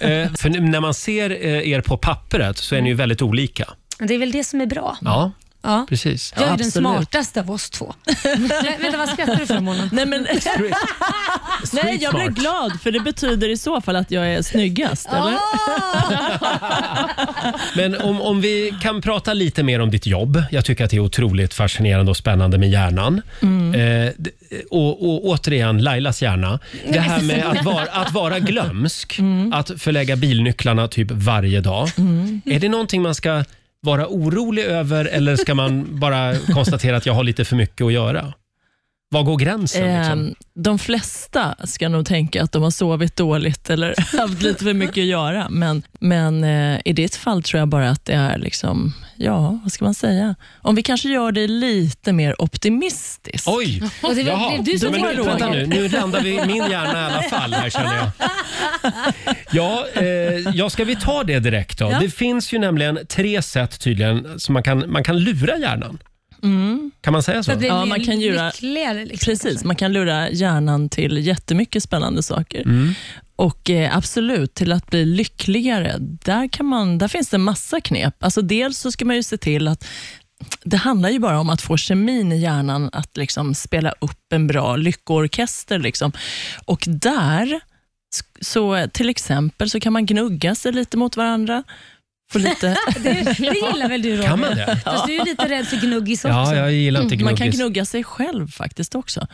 A: Eh, för n- när man ser eh, er på pappret så är ni ju väldigt olika.
C: Det är väl det som är bra.
A: Ja,
C: Ja.
A: precis.
C: Jag är den
H: absolut.
C: smartaste av oss två. Nej, vänta, vad skrattar du för Mona?
H: Nej, men, nej, jag blir
A: smart.
H: glad för det betyder i så fall att jag är snyggast.
C: Ah!
H: Eller?
A: Men om, om vi kan prata lite mer om ditt jobb. Jag tycker att det är otroligt fascinerande och spännande med hjärnan. Eh, d- och, och återigen, Lailas hjärna. Det här med att vara, att vara glömsk, att förlägga bilnycklarna typ varje dag. Är det någonting man ska vara orolig över eller ska man bara konstatera att jag har lite för mycket att göra? Var går gränsen? Liksom?
H: Ehm, de flesta ska nog tänka att de har sovit dåligt eller haft lite för mycket att göra. Men, men eh, i ditt fall tror jag bara att det är, liksom, ja, vad ska man säga? Om vi kanske gör det lite mer optimistiskt.
A: Oj!
C: Och det blev-
A: Jaha.
C: blev du som
A: Ja, men
H: fick
A: nu, vänta
H: frågan.
A: nu, nu landar vi i min hjärna i alla fall här känner jag. Ja, eh, ja, ska vi ta det direkt då? Det finns ju nämligen tre sätt tydligen som man kan, man kan lura hjärnan. Kan man säga så?
C: Mm. Det blir
H: Ja, man kan göra-
C: lyckligare, liksom.
H: Precis, man kan lura hjärnan till jättemycket spännande saker. Och eh, absolut, till att bli lyckligare, där, kan man, där finns det massa knep. Alltså, dels så ska man ju se till att det handlar ju bara om att få kemin i hjärnan att liksom spela upp en bra lyckoorkester. Liksom. Och där, sk- så eh, till exempel, så kan man gnugga sig lite mot varandra. Få lite,
C: Det gillar väl du Roger?
A: Kan man det?
C: Fast du är ju lite rädd för gnuggis också.
A: Ja, jag gillar inte
H: Mm,
C: Mm,
H: man kan
A: gnuggis.
H: gnugga sig själv faktiskt också.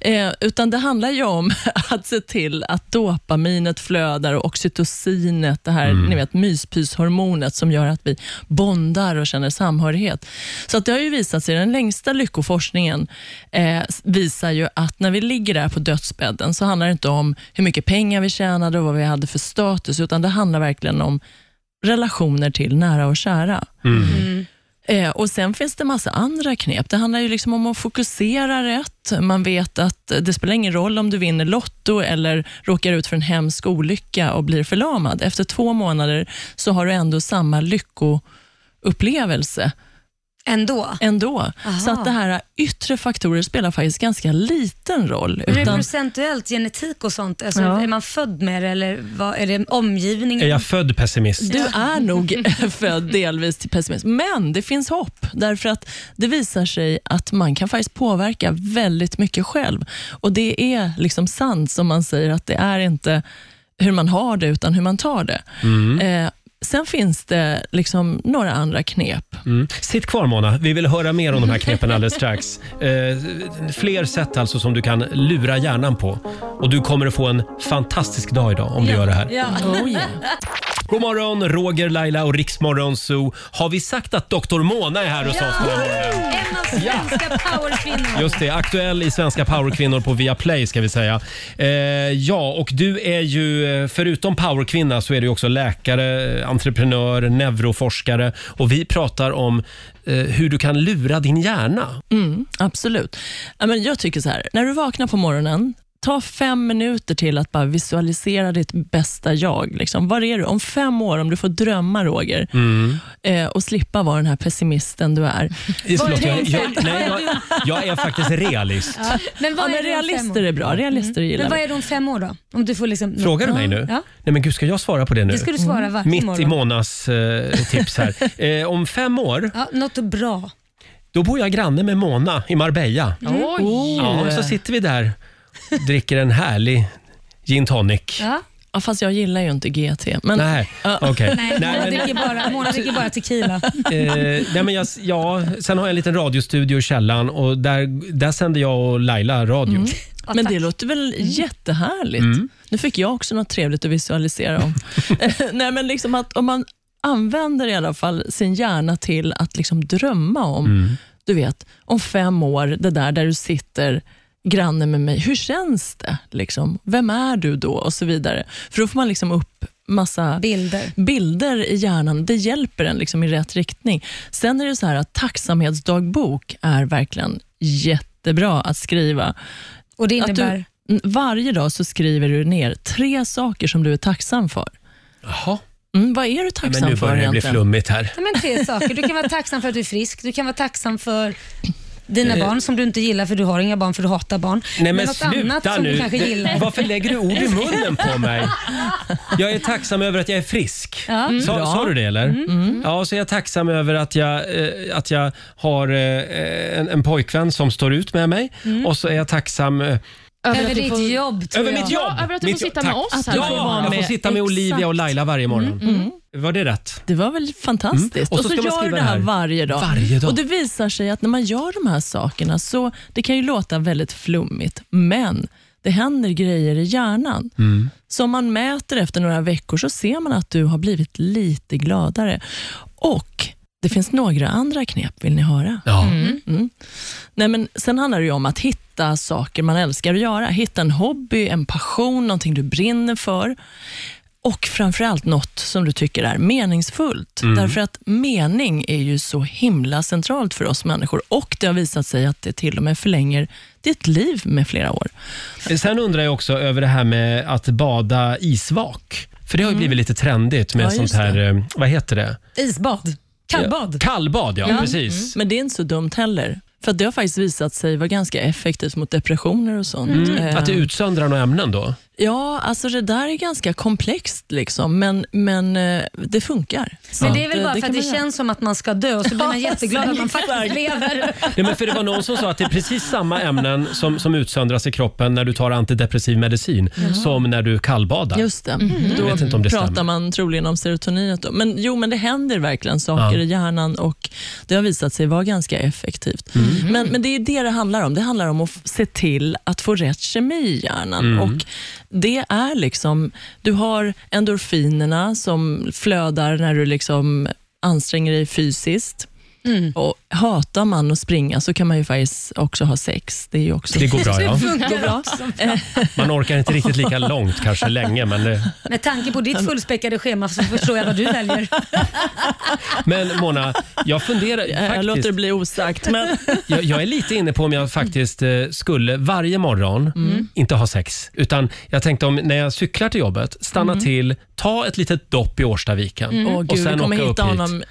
H: Eh, utan det handlar ju om att se till att dopaminet flödar och oxytocinet, det här
A: Mm.
H: ni vet, myspyshormonet som gör att vi bondar och känner samhörighet. Så att det har ju visat sig, den längsta lyckoforskningen eh, visar ju att när vi ligger där på dödsbädden så handlar det inte om hur mycket pengar vi tjänade och vad vi hade för status, utan det handlar verkligen om relationer till nära och kära. Eh, och Sen finns det massa andra knep. Det handlar ju liksom om att fokusera rätt. Man vet att eh, det spelar ingen roll om du vinner Lotto eller råkar ut för en hemsk olycka och blir förlamad. Efter två månader så har du ändå samma lyckoupplevelse
C: Ändå.
H: ändå.
C: Aha.
H: Så att det här yttre faktorer spelar faktiskt ganska liten roll.
C: Men det är
H: utan-
C: procentuellt genetik och sånt? Alltså,
H: Ja.
C: Är man född med det eller vad, är det omgivningen?
A: Är jag född pessimist?
H: Du är nog född delvis till pessimism, men det finns hopp. Därför att det visar sig att man kan faktiskt påverka väldigt mycket själv. Och det är liksom sant som man säger att det är inte hur man har det, utan hur man tar det. Eh, sen finns det liksom några andra knep.
A: Mm. Sitt kvar Mona, vi vill höra mer om de här knepen alldeles strax. Eh, fler sätt alltså som du kan lura hjärnan på. Och du kommer att få en fantastisk dag idag om du gör det här.
C: Ja.
H: Oh yeah.
A: God morgon, Roger, Laila och Riksmorgon Zoo. Har vi sagt att Dr. Mona är här hos oss den här morgonen?
C: En av svenska powerkvinnor.
A: Just det, aktuell i Svenska powerkvinnor på Viaplay ska vi säga. Eh, ja, och du är ju eh, förutom powerkvinna så är du ju också läkare, eh, entreprenör, neuroforskare och vi pratar om eh, hur du kan lura din hjärna.
H: Mm, absolut. Ja, men jag tycker så här, när du vaknar på morgonen, ta fem minuter till att bara visualisera ditt bästa jag. Liksom. Var är du om fem år, om du får drömma, Roger, eh, och slippa vara den här pessimisten du är.
A: Förlåt, jag,
C: tänker
A: jag, nej, jag, jag är faktiskt realist.
C: Men
H: Ja,
C: vad
H: men
C: är du om fem år? Mm.
H: realister är bra. Realister gillar
C: Men vad
H: vi.
C: är du om fem år då? Om du får liksom...
A: Frågar du mig nu?
C: Ja.
A: Nej men gud, ska jag svara på det nu?
C: Det ska du svara varje
A: Mitt
C: morgon.
A: i Monas eh, tips här. Eh, om fem år,
C: Ja, något bra.
A: då bor jag granne med Mona i Marbella.
B: Oj.
A: Ja, så sitter vi där och dricker en härlig gin tonic.
C: Ja.
H: Ja, fast jag gillar ju inte GT. Men,
A: Nej,
H: Ja.
A: okej.
C: Nej, Mona,
A: Nej,
C: dricker bara, Mona dricker bara tequila.
A: men, eh, nej, men jag, ja, sen har jag en liten radiostudio i källaren och där, där sänder jag och Laila radio.
H: men det låter väl jättehärligt? Nu fick jag också något trevligt att visualisera om. Nej, men liksom att om man använder i alla fall sin hjärna till att liksom drömma om, du vet, om fem år, det där där du sitter granne med mig, hur känns det? Liksom? Vem är du då? Och så vidare. För då får man liksom upp massa
C: Bilder.
H: bilder i hjärnan, det hjälper en liksom i rätt riktning. Sen är det så här att tacksamhetsdagbok är verkligen jättebra att skriva.
C: Och det
H: Att du,
C: innebär...
H: n- varje dag så skriver du ner tre saker som du är tacksam för.
A: Jaha,
H: Mm, vad är du
A: Ja,
H: tacksam
A: men nu
H: för
A: börjar det bli
H: egentligen?
A: flummigt här.
C: Nej, men tre saker. Du kan vara tacksam för att du är frisk. Du kan vara tacksam för dina barn som du inte gillar för du har inga barn för du hatar barn.
A: Eh. Nej men,
C: något annat
A: sluta
C: som
A: nu.
C: du kanske
A: Det-
C: gillar.
A: Varför lägger du ord i munnen på mig? Jag är tacksam över att jag är frisk. Sa, sa du det eller? Ja, så är jag tacksam över att jag, eh, att jag har eh, en, en pojkvän som står ut med mig. Och så är jag tacksam eh,
C: Över
B: att du
C: ditt
B: får-
C: jobb tror
A: över
C: jag.
A: mitt jobb.
B: Ja, över att du får
A: mitt jobb.
B: sitta med
A: Tack.
B: oss här.
A: Ja,
B: Att du får
H: vara
A: jag får
H: med.
A: sitta med Olivia och Laila varje morgon. Mm. Var det rätt?
H: Det var väl fantastiskt.
A: Mm.
H: Och, så
A: ska man
H: gör du
A: skriva
H: det
A: det
H: här,
A: här.
H: varje dag.
A: Varje dag.
H: Och Det visar sig att när man gör de här sakerna, så det kan ju låta väldigt flummigt, men det händer grejer i hjärnan.
A: Mm.
H: Så om man mäter efter några veckor så ser man att du har blivit lite gladare. Och det finns några andra knep, vill ni höra?
A: Ja.
H: Nej, men sen handlar det ju om att hitta saker man älskar att göra. Hitta en hobby, en passion, någonting du brinner för. Och framförallt något som du tycker är meningsfullt.
A: Mm.
H: Därför att mening är ju så himla centralt för oss människor och det har visat sig att det till och med förlänger ditt liv med flera år.
A: Sen undrar jag också över det här med att bada isvak. För det har ju blivit lite trendigt med
H: Ja,
A: sånt
H: just
A: här, eh, vad heter det?
C: Isbad. Kallbad.
A: Kallbad,
H: Mm.
A: ja. Precis.
H: Men det är inte så dumt heller. För att det har faktiskt visat sig vara ganska effektivt mot depressioner och sånt. Eh,
A: Mm. Att det utsöndrar några ämnen då?
H: Ja, alltså det där är ganska komplext, liksom, men, men eh, det funkar. Så eh,
C: Men det är väl bara
H: det
C: för
H: kan
C: att det
H: man göra.
C: känns som att man ska dö och så blir man
H: Ja,
C: jätteglad att man faktiskt lever.
A: Nej, men för det var någon som sa att det är precis samma ämnen som, som utsöndras i kroppen när du tar antidepressiv medicin som när du kallbadar.
H: Just det. Då
A: Mm. Jag vet inte om det
H: pratar
A: stämmer.
H: man troligen om serotoninet. Då. Men jo, men det händer verkligen saker
A: Ja.
H: i hjärnan och det har visat sig vara ganska effektivt.
A: Mm.
H: Men, men det är det det handlar om. Det handlar om att f- se till att få rätt kemi i hjärnan.
A: Mm.
H: Och det är liksom, du har endorfinerna som flödar när du liksom anstränger dig fysiskt. Och hatar man att springa så kan man ju faktiskt också ha sex. Det är ju också
A: Det går bra, ja.
H: går bra. Eh,
A: Man orkar inte riktigt lika långt, kanske länge. Men, eh, det-
C: Med tanke på ditt fullspäckade schema så förstår jag vad du väljer.
A: men Mona, jag funderar
H: Jag låter det
A: faktiskt.
H: bli osagt, men
A: Jag, jag är lite inne på om jag faktiskt eh, skulle varje morgon
H: Mm.
A: inte ha sex. Utan jag tänkte om när jag cyklar till jobbet, stanna till, ta ett litet dopp i Årstaviken
H: Mm. Åh
A: Mm. och
H: gud,
A: sen
H: du kommer
A: åka upp
H: hitta
A: hit. Mm.
H: honom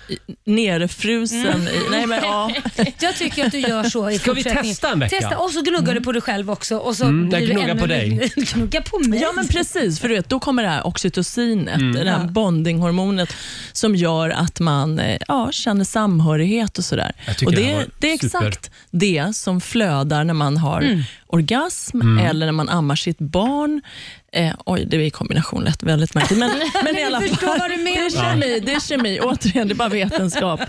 H: i- nerfrusen. I, nej, men, ja.
C: Jag tycker att du gör så i
A: Ska vi
C: fortsättningen.
A: testa en vecka?
C: Testa, och så gnuggar du på dig själv också. Och så
A: Mm, jag
C: blir du
A: gnuggar
C: ännu
A: på dig.
C: lyckligare. gnugga på mig?
H: ja, men precis. För du vet, då kommer det här oxytocinet,
A: Mm.
H: det här bondinghormonet som gör att man eh, ja, känner samhörighet och sådär.
A: Jag tycker
H: Och
A: den
H: det,
A: var
H: det är
A: super. Mm.
H: exakt det som flödar när man har orgasm eller när man ammar sitt barn. Eh, oj, det är i kombination lätt väldigt märkligt. Men, men i alla fall,
C: förstår vad du
H: det är kemi. Det är kemi. Återigen, det är bara vetenskap.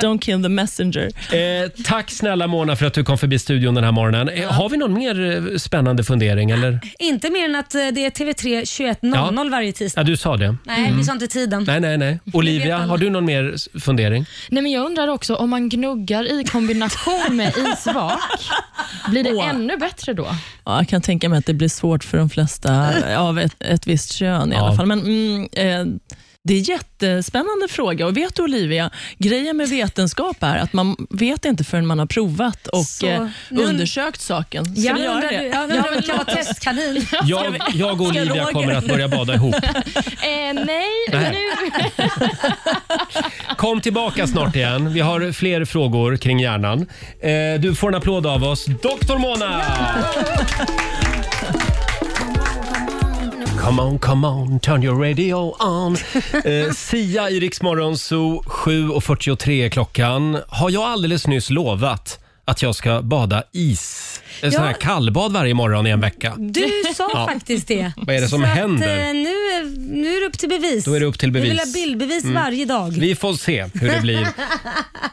H: Don't kill the messenger.
A: Eh, tack snälla Mona för att du kom förbi studion den här morgonen. Eh, Har vi någon mer eh, spännande fundering? Eller?
C: Inte mer än att eh, det är TV3 21.00 varje tisdag.
A: Ja, du sa det.
C: Mm. Nej, vi sa inte tiden.
A: Nej, nej, nej. Olivia,
C: alla.
A: har du någon mer s- fundering?
B: Nej, men jag undrar också, om man gnuggar i kombination med isvak, blir det
H: Åh.
B: ännu bättre då?
H: Ja, jag kan tänka mig att det blir svårt för de flesta av ett, ett visst kön i
A: Ja.
H: alla fall. Men mm, eh, Det är en jättespännande fråga. Och vet du Olivia, grejen med vetenskap är att man vet inte förrän man har provat och
C: Så,
H: eh,
C: nu-
H: undersökt saken. Ska
C: Ja,
H: vi
C: nu
H: göra
C: undrar
H: det?
C: du, ja, nu undrar vi om vi kan vara testkanin.
A: Jag, jag och
H: Ska
A: Olivia
H: Roger-
A: kommer att börja bada ihop.
B: Eh, nej,
A: Nej.
B: nu...
A: Kom tillbaka snart igen. Vi har fler frågor kring hjärnan. Eh, du får en applåd av oss. Dr. Mona! Come on, come on, turn your radio on. Eh, Sia i Rix Morgon Zoo, 7.43 är klockan. Har jag alldeles nyss lovat att jag ska bada is? En sån
C: Ja.
A: här kallbad varje morgon i en vecka.
C: Du sa faktiskt det.
A: Vad är det som
C: Så att,
A: händer?
C: eh, nu, är- nu är det upp till bevis.
A: Då är det upp till
C: Vi vill
A: bevis. Mm.
C: ha bildbevis varje dag.
A: Vi får se hur det blir.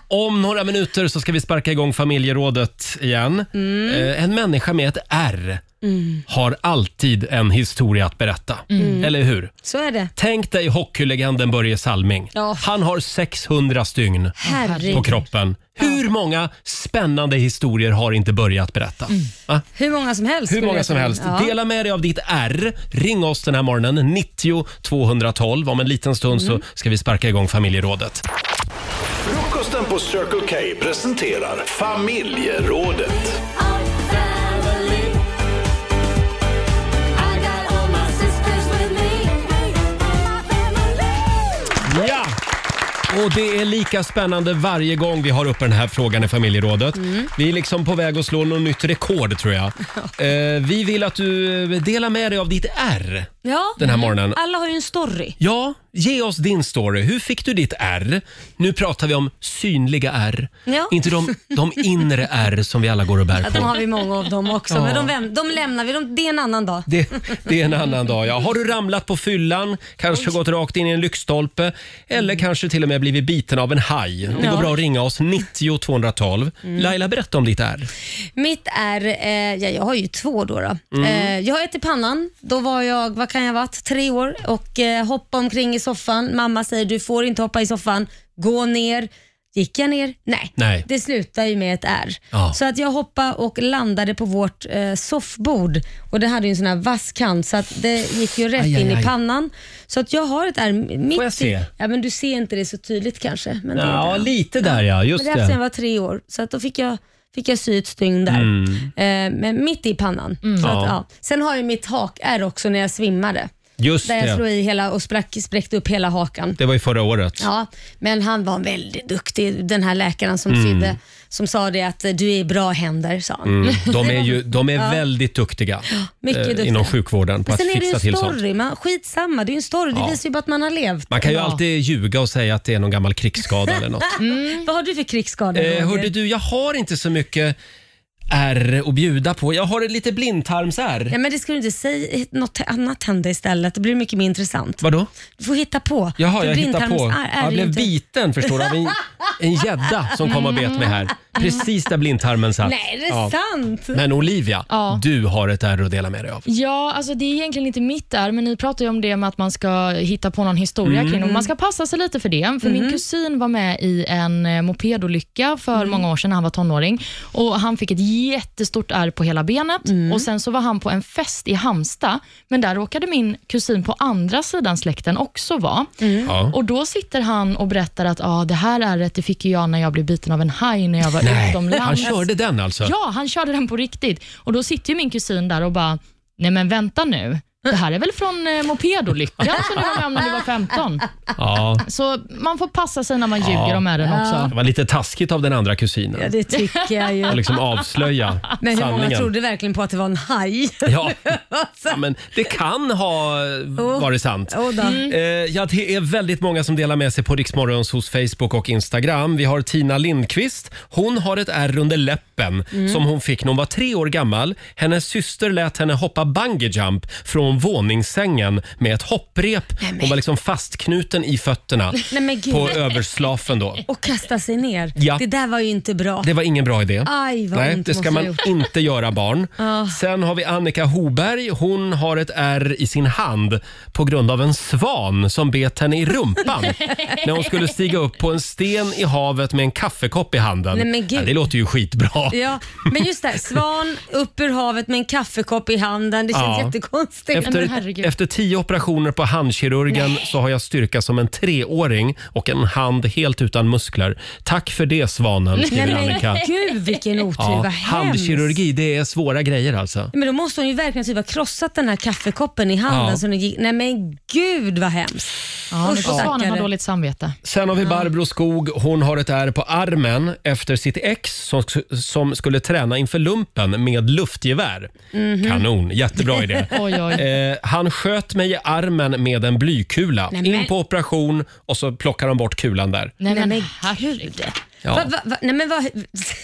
A: Om några minuter så ska vi sparka igång familjerådet igen.
C: Mm.
A: Eh, En människa med ett R har alltid en historia att berätta.
C: Mm.
A: Eller hur?
C: Så är det.
A: Tänk dig hockeylegenden Börje Salming.
C: Ja.
A: Han har 600 stygn på
C: Herregud.
A: kroppen. Hur många spännande historier har inte Börje att berätta? Va?
C: Hur många som helst.
A: Hur
C: Mm. skulle
A: många
C: jag
A: som
C: säga.
A: helst.
C: Ja.
A: Dela med dig av ditt R. Ring oss den här morgonen, 90 212. Om en liten stund
C: Mm.
A: så ska vi sparka igång familjerådet.
D: Frukosten på Circle K presenterar Familjerådet.
A: Ja! Och det är lika spännande varje gång vi har upp den här frågan i familjerådet.
C: Mm.
A: Vi är liksom på väg att slå något nytt rekord tror jag. Eh, vi vill att du eh, delar med dig av ditt R
C: Ja.
A: den här morgonen.
C: Alla har ju en story.
A: Ja, ge oss din story. Hur fick du ditt R? Nu pratar vi om synliga R.
C: Ja.
A: Inte de, de inre R som vi alla går och bär
C: Ja,
A: på.
C: de har vi många av dem också,
A: Ja.
C: men de, väm- de lämnar vi. De, det är en annan dag.
A: Det, det är en annan dag. Ja. Har du ramlat på fyllan, kanske gått rakt in i en lyktstolpe
C: Mm.
A: eller kanske till och med blivit biten av en haj? Det går bra att ringa oss, 90 212.
C: Mm.
A: Laila, berätta om ditt är.
C: Mitt är, eh, ja, jag har ju två då. då.
A: Mm.
C: Eh, jag har ett i pannan. Då var jag, vad kan jag ha varit, tre år och eh, hoppade omkring i soffan. Mamma säger du får inte hoppa i soffan, gå ner. Gick jag ner? Nej.
A: Nej.
C: Det slutar ju med ett R.
A: Ja.
C: Så att jag hoppade och landade på vårt eh, soffbord och det hade ju en sån här vass kant så att det gick ju rätt
A: Aj, aj,
C: in
A: aj.
C: i pannan. Så att jag har ett R mitt
A: jag
C: i-
A: se?
C: Ja, men du ser inte det så tydligt kanske. Men det är
A: Ja,
C: det.
A: lite där ja. Just
C: Men det är alltså sen jag
A: det.
C: var tre år, så att då fick jag, fick jag sy ett stygn där. Eh, men mitt i pannan. Så att,
A: Mm. Ja.
C: ja. Sen har jag mitt hakärr också när jag svimmade.
A: Just
C: Där jag slog
A: det.
C: i hela och sprack, spräckte upp hela hakan.
A: Det var ju förra året.
C: Ja, men han var väldigt duktig, den här läkaren som sydde, som sa det att eh, du är i bra händer, sa han.
A: Mm. Mm. De är, ju, de är väldigt duktiga,
C: mycket
A: eh,
C: duktiga.
A: inom sjukvården på
C: Men
A: att
C: sen är det ju
A: fixa till
C: en
A: sånt.
C: story, man, skitsamma, det är ju en story, det visar ju bara att man har levt.
A: Man kan ju
C: Ja.
A: alltid ljuga och säga att det är någon gammal krigsskada eller något.
C: Vad har du för krigsskada?
A: Eh,
C: Roger?
A: hörde du, jag har inte så mycket R att bjuda på. Jag har ett lite blindtarms-R.
C: Ja, men det ska du inte säga, något annat hände istället, det blir mycket mer intressant.
A: Vadå?
C: Du får hitta på.
A: Jaha,
C: För
A: jag hittar på.
C: blindtarms- är- är
A: jag
C: det
A: blev
C: inte-
A: biten förstår du, av en- en gädda som kom och bet mig här. Precis där blindtarmen satt.
C: Nej, det är
A: Ja.
C: sant.
A: Men Olivia,
B: Ja.
A: du har ett R att dela med dig av.
B: Ja, alltså det är egentligen inte mitt där, men ni pratar ju om det med att man ska hitta på någon historia kring
A: Mm.
B: dem. Man ska passa sig lite för det, för min kusin var med i en eh, mopedolycka för
A: Mm.
B: många år sedan när han var tonåring och han fick ett jättestort ärr på hela benet
A: Mm.
B: och sen så var han på en fest i Hamsta, men där råkade min kusin på andra sidan släkten också vara.
C: Mm.
A: Ja.
B: Och Då sitter han och berättar att ah, det här ärret det fick ju jag när jag blev biten av en haj när jag var
A: Nej,
B: utomlands.
A: han körde den alltså.
B: Ja, han körde den på riktigt. Och Då sitter ju min kusin där och bara, nej men vänta nu. Det här är väl från eh, mopedolyckan som du var med om när du var 15?
A: Ja.
B: Så man får passa sig när man ljuger
A: Ja.
B: om ären också.
A: Det var lite taskigt av den andra
C: Ja,
A: kusinen.
C: det tycker jag
A: Att
C: ju.
A: liksom avslöja
C: Men hur många
A: sanningen.
C: trodde verkligen på att det var en haj?
A: Ja.
C: Alltså,
A: ja, men det kan ha eh, varit sant.
C: oh då.
A: Eh, ja, det är väldigt många som delar med sig på Riksmorgons hos Facebook och Instagram. Vi har Tina Lindqvist. Hon har ett ärr under läppen som hon fick när hon var tre år gammal. Hennes syster lät henne hoppa bungee jump från våningssängen med ett hopprep. Hon var liksom fastknuten i fötterna
C: Nej, men gud.
A: på överslafen då.
C: Och kasta sig ner.
A: Ja.
C: Det där var ju inte bra.
A: Det var ingen bra idé.
C: Aj, vad
A: Nej,
C: ont
A: det ska
C: måste
A: man
C: ha gjort.
A: inte göra barn. Sen har vi Annika Hoberg. Hon har ett R i sin hand på grund av en svan som bet henne i rumpan när hon skulle stiga upp på en sten i havet med en kaffekopp i handen.
C: Nej, men gud.
A: Ja, det låter ju skitbra.
C: Ja, men just det, här, svan upp ur havet med en kaffekopp i handen. Det känns
A: Ja.
C: jättekonstigt.
B: Nej,
A: Efter,
B: men herregud.
A: efter tio operationer på handkirurgen så har jag styrka som en treåring och en hand helt utan muskler. Tack för det, Svanen, skriver Annika.
C: gud vilken otur,
A: Ja,
C: vad hemskt.
A: handkirurgi, det är svåra grejer alltså.
C: Men då måste hon ju verkligen typ ha krossat den här kaffekoppen i handen.
A: Ja.
C: Så den gick, nej men gud vad hemskt.
B: Ja, nu får
C: Usch,
B: Svanen ha
C: stackare.
B: dåligt samvete.
A: Sen har vi
C: Mm.
A: Barbro Skog. Hon har ett ärr på armen efter sitt ex som, som skulle träna inför lumpen med luftgevär.
C: Mhm.
A: Kanon, jättebra idé.
B: Oj, oj.
A: Eh, han sköt mig i armen med en blykula.
C: Nej, men-
A: In på operation och så plockar de bort kulan där.
B: Nej, men,
C: Nej, men
B: herregud.
A: Ja.
C: Va, va, va, nej men vad...
A: Nej,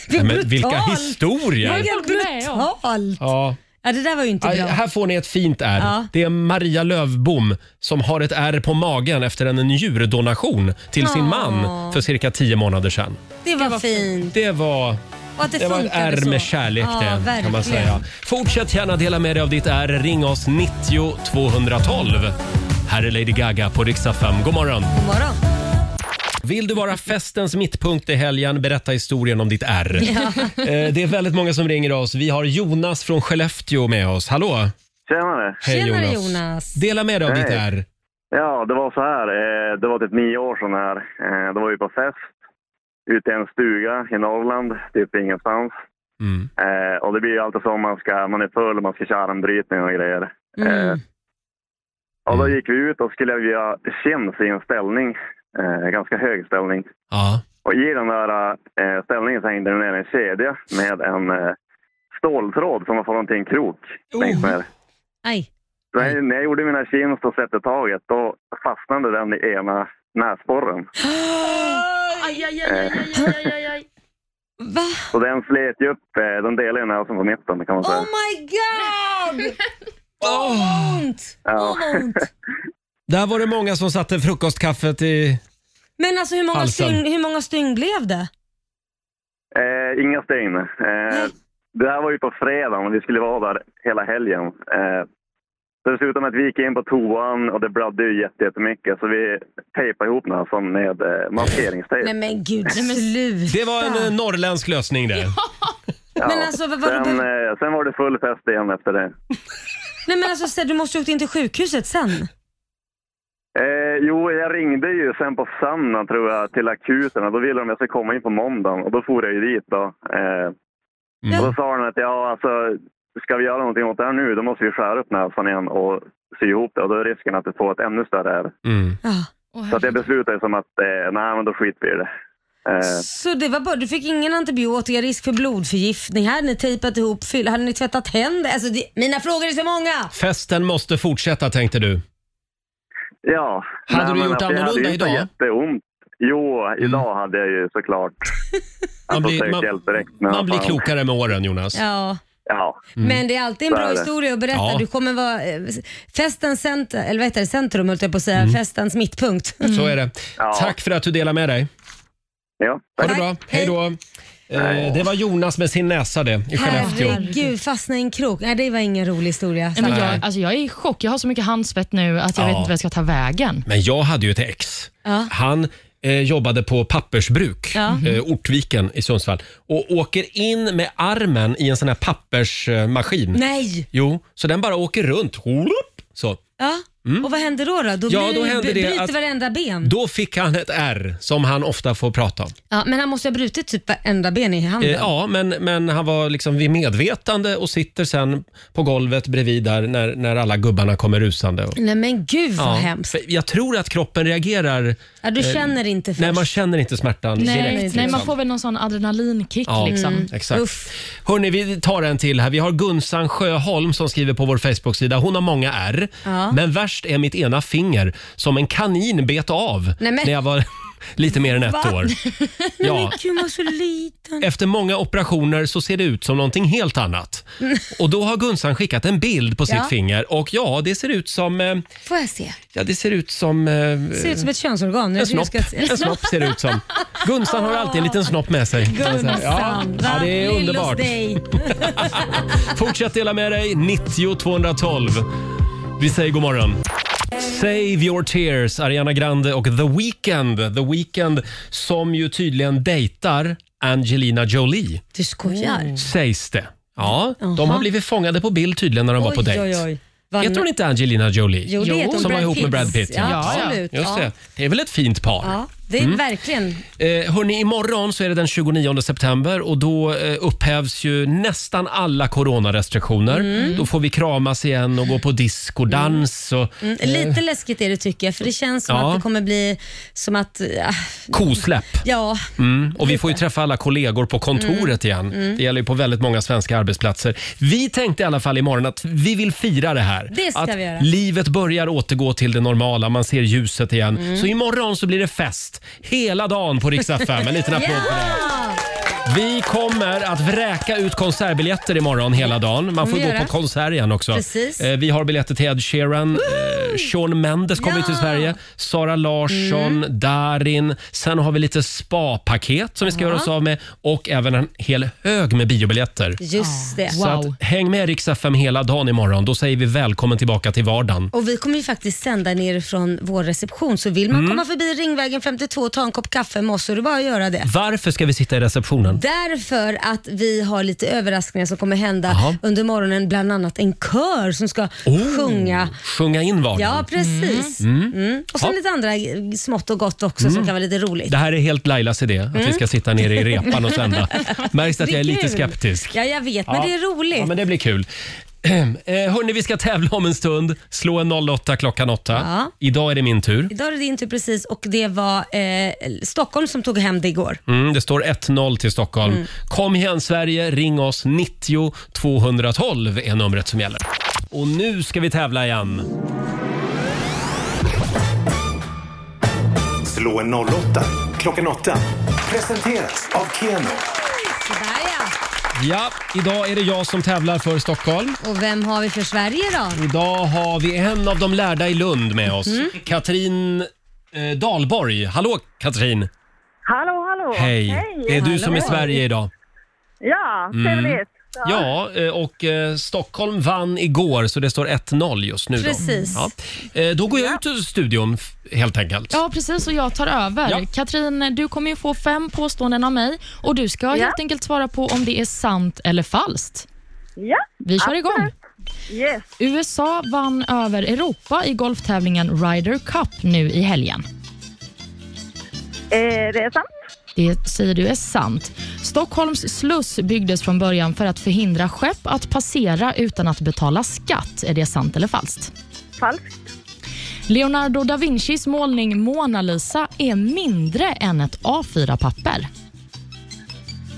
C: Nej,
A: men vilka historier!
C: Vilken
B: Folk med, ja.
C: brutalt! Ja.
A: Ja.
C: det där var ju inte
A: Aj,
C: bra.
A: här får ni ett fint ärr.
C: Ja.
A: Det är Maria Lövbom som har ett ärr på magen efter en njurdonation till sin man för cirka tio månader sedan.
C: Det var fint.
A: Det var
C: Och att det,
A: Det var ett
C: funkade
A: R
C: så.
A: med kärlek
C: Ja,
A: det, kan man
C: verkligen.
A: säga. Fortsätt gärna dela med dig av ditt R. Ring oss 90 212. Här är Lady Gaga på riksdag 5. God morgon!
C: God morgon.
A: Vill du vara festens mittpunkt i helgen, berätta historien om ditt R. Eh, Det är väldigt många som ringer oss. Vi har Jonas från Skellefteå med oss. Hallå!
H: Tjenare!
C: Tjenare Jonas.
A: Dela med dig av
H: Hej.
A: ditt R.
H: Ja, det var så här. eh, Det var typ nio år sedan här. Eh, Då var vi på fest ute i en stuga i Norrland, typ ingenstans.
A: Mm.
H: Eh, Och det blir ju alltid så om man, ska, man är full och man ska köra armbrytning och grejer. Eh,
C: Mm.
H: Och då
A: Mm.
H: gick vi ut och skulle göra chins i en ställning, eh, ganska hög ställning.
A: Ja.
H: Och i den där eh, ställningen så hängde det ner en kedja med en eh, ståltråd som var från en krok
B: Oh.
H: längst ner.
C: Aj.
H: När jag, när jag gjorde mina chins och sätter taget, då fastnade den i ena näsborren. Eh,
B: Aj, aj, aj, aj, aj, aj, aj.
C: Va?
H: Så den slet ju upp, eh, den delade ju näsan på mitten kan man säga.
C: Oh my god!
A: Åh!
C: Ont.
H: Ja.
C: Åh, vad ont.
A: Där var det många som satte frukostkaffet i...
C: Men alltså hur många,
A: Halsen.
C: stygn, hur många stygn blev det?
H: Eh, inga stygn. Eh, det här var ju på fredagen och vi skulle vara där hela helgen. Eh, så det slutade med att vi gick in på toan och det blödde ju jätte- jättemycket så vi tejpade ihop näsan med eh,
C: Nej
H: maskeringstejp.
C: men gud, sluta.
A: Det var en eh, norrländsk lösning det.
H: Ja.
C: Men alltså, vad var det
H: sen,
C: be-
H: eh, sen var det full fest igen efter det.
C: Nej men alltså Sted, du måste ju åkt in till sjukhuset sen.
H: Eh, jo, jag ringde ju sen på söndagen tror jag till akuten och då ville de att jag skulle komma in på måndagen och då for jag ju dit då. Eh,
A: Mm.
H: Och då sa de att ja, alltså ska vi göra någonting åt det här nu då måste vi skära upp näsan igen och sy ihop det och då är risken att vi får ett ännu större ärr.
A: Mm.
C: Ja.
B: Åh,
H: Så att jag
B: herregud.
H: beslutade som att eh, nej men då skiter vi i det. Eh,
C: Så det var bara, du fick ingen antibiotika, risk för blodförgiftning, hade ni tejpat ihop fyll, hade ni tvättat händer? Alltså det, mina frågor är så många!
A: Festen måste fortsätta tänkte du.
H: ja.
A: Hade
H: Nej,
A: du
H: men alltså,
A: gjort
H: jag hade
A: annorlunda
H: ju inte
A: idag? Mm.
H: Jätteont. Jo, idag hade jag ju såklart
A: Man
H: alltså,
A: blir-
H: sökt
A: man-
H: hjälp direkt. men
A: Man blir
H: fan.
A: klokare med åren Jonas.
C: Ja,
H: Ja.
C: Mm. men det är alltid en
H: Så
C: bra
H: är det.
C: historia att berätta.
A: Ja.
C: Du kommer vara eh, festens centrum, eller vad heter det, centrum höll jag på att säga,
A: Mm.
C: festens mittpunkt.
A: Så är det.
H: Ja.
A: Tack för att du delar med dig.
H: ja.
A: Ha det
C: Tack.
A: bra. Hej då. Eh, det var Jonas med sin näsa det, i Skellefteå.
C: Herregud, fastna i en krok. Nej, det var ingen rolig historia.
B: Nej, men
A: Nej.
B: jag, alltså jag är i chock. Jag har så mycket handsvett nu att jag
A: Ja.
B: vet inte vad jag ska ta vägen.
A: Men jag hade ju ett ex.
C: Ja.
A: Han eh, jobbade på pappersbruk,
C: Ja.
A: eh, Ortviken i Sundsvall och åker in med armen i en sån här pappersmaskin.
C: Nej!
A: Jo, så den bara åker runt. Holup, Så.
C: Ja. Och vad händer då? Då, då,
A: Mm. Ja,
C: blir,
A: då
C: då
A: händer det
C: bryter
A: att-
C: varenda ben.
A: Då fick han ett R som han ofta får prata om.
C: Ja, men han måste ju ha brutit typ varenda ben i handen.
A: Eh, ja, men, men han var liksom vid medvetande och sitter sen på golvet bredvid där när, när alla gubbarna kommer rusande. Och,
C: Nej men gud vad
A: ja.
C: hemskt.
A: För Jag tror att kroppen reagerar
C: Ja, du känner inte först.
A: Nej, man känner inte smärtan direkt.
B: Nej, nej,
A: liksom.
B: man får väl någon sån adrenalinkick
A: Ja, mm,
B: liksom.
C: Mm.
A: exakt.
C: Uff.
A: Hörni, vi tar en till här. Vi har Gunsan Sjöholm som skriver på vår Facebook-sida. Hon har många R,
C: Ja.
A: men värst är mitt ena finger som en kanin bet av
C: Nej, men-
A: när jag var lite mer än ett
C: Va?
A: år. Ja.
C: Gud, man var så liten.
A: Efter många operationer så ser det ut som någonting helt annat. Och då har Gunsan skickat en bild på sitt
C: Ja.
A: finger och ja, det ser ut som... eh,
C: Får jag se?
A: Ja, det ser ut som... eh,
C: Ser ut som ett könsorgan.
A: En
C: Jag
A: snopp.
C: tycker jag ska-
A: en snopp ser det ut som. Gunsan har alltid en liten snopp med sig. kan man säga. Ja,
C: Gunsan,
A: ja,
C: va?
A: det är
C: Lill hos
A: underbart.
C: dig.
A: Fortsätt dela med dig. 90 212. Vi säger god morgon. Save your tears, Ariana Grande och The Weeknd. The Weeknd som ju tydligen dejtar Angelina Jolie,
C: Du skojar?
A: Oh. sägs det. Ja, de har blivit fångade på bild tydligen när de var på
C: Oj, oj,
A: dejt.
C: oj. Vad-
A: Heter hon inte Angelina Jolie?
C: Jo, det heter hon.
A: Som var
C: Brad
A: ihop med
C: Pitt.
A: Brad Pitt.
C: Ja, absolut.
A: Just
C: Ja.
A: det. det är väl ett fint par?
C: Ja, det
A: Mm.
C: är verkligen.
A: Eh, hörni, imorgon så är det den 29 september och då eh, upphävs ju nästan alla coronarestriktioner.
C: Mm.
A: Då får vi kramas igen och gå på disco, dans och
C: Mm, lite läskigt är det tycker jag, för det känns som
A: Ja.
C: att det kommer bli som att... ah,
A: kosläpp.
C: ja,
A: Mm. Och vi får ju träffa alla kollegor på kontoret
C: Mm.
A: igen. Det gäller ju på väldigt många svenska arbetsplatser. Vi tänkte i alla fall imorgon att vi vill fira det här.
C: Det ska
A: att
C: vi göra.
A: livet börjar återgå till det normala, man ser ljuset igen.
C: Mm.
A: Så imorgon så blir det fest hela dagen på Rix FM. En liten applåd för det. Vi kommer att vräka ut konsertbiljetter imorgon hela dagen. Man får
C: Kommer
A: gå
C: Mm. vi
A: på
C: göra.
A: konsert igen också.
C: Precis.
A: Eh, Vi har biljetter till Ed Sheeran, eh, Shawn Mendes kommer
C: Ja. Mm.
A: till Sverige, Sara Larsson, Darin. Sen har vi lite spa-paket som vi ska göra oss av med och även en hel hög med biobiljetter.
C: just det.
A: Så
B: Wow.
A: att, häng med Rix FM hela dagen imorgon. Då säger vi välkommen tillbaka till vardagen.
C: Och vi kommer ju faktiskt sända ner från vår reception, så vill man
A: Mm.
C: komma förbi Ringvägen 52 och ta en kopp kaffe med oss så är det bara att göra det.
A: Varför ska vi sitta i receptionen?
C: Därför att vi har lite överraskningar som kommer hända
A: Jaha.
C: under morgonen, bland annat en kör som ska
A: Oh.
C: sjunga.
A: Sjunga in vardagen.
C: Ja, precis. Mm. Och sen
A: Ja. Mm.
C: lite andra eh, smått och gott också som kan vara lite roligt.
A: Det här är helt Lailas idé, att
C: Mm.
A: vi ska sitta nere i repan och sända. Märks att
C: Det är
A: jag är lite
C: kul.
A: skeptisk.
C: Ja, jag vet, men
A: Ja.
C: det är roligt.
A: Ja, men det blir kul. Eh, hörni, vi ska tävla om en stund. Slå en 08 klockan 8.
C: Ja.
A: Idag är det min tur.
C: Idag är det din tur precis och det var eh, Stockholm som tog hem det igår.
A: Mm, det står 1-0 till Stockholm.
C: Mm.
A: Kom igen Sverige, ring oss. 90 212 är numret som gäller. Och nu ska vi tävla igen.
D: Slå en 08 klockan 8. Presenteras av Keno.
C: Sådär ja.
A: Ja, idag är det jag som tävlar för Stockholm.
C: Och vem har vi för Sverige då?
A: Idag har vi en av de lärda i Lund med oss.
C: Mm.
A: Katrin eh, Dalborg. Hallå Katrin!
E: Hallå, hallå!
A: Hej! Det är du som är
E: Hallå.
A: Sverige idag.
E: Ja, trevligt.
A: Ja, eh, och eh, Stockholm vann igår så det står 1-0 just nu. Då.
C: Precis.
A: Ja. Eh, Då går jag ut ur studion f- helt enkelt.
B: Ja, precis. Och jag tar över.
A: Ja.
B: Katrin, du kommer ju få fem påståenden av mig och du ska helt enkelt svara på om det är sant eller falskt.
E: Ja,
B: Vi kör igång.
E: yes.
B: USA vann över Europa i golftävlingen Ryder Cup nu i helgen.
E: Eh, det är sant.
B: Det säger du är sant. Stockholms sluss byggdes från början för att förhindra skepp att passera utan att betala skatt. Är det sant eller falskt?
E: Falskt.
B: Leonardo da Vincis målning Mona Lisa är mindre än ett A4-papper.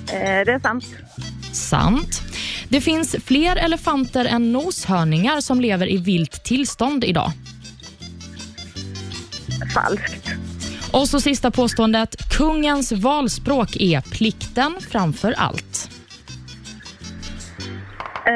E: Eh, det är sant.
B: Sant. Det finns fler elefanter än noshörningar som lever i vilt tillstånd idag.
E: Falskt.
B: Och så sista påståendet. Kungens valspråk är plikten framför allt.
E: Eh,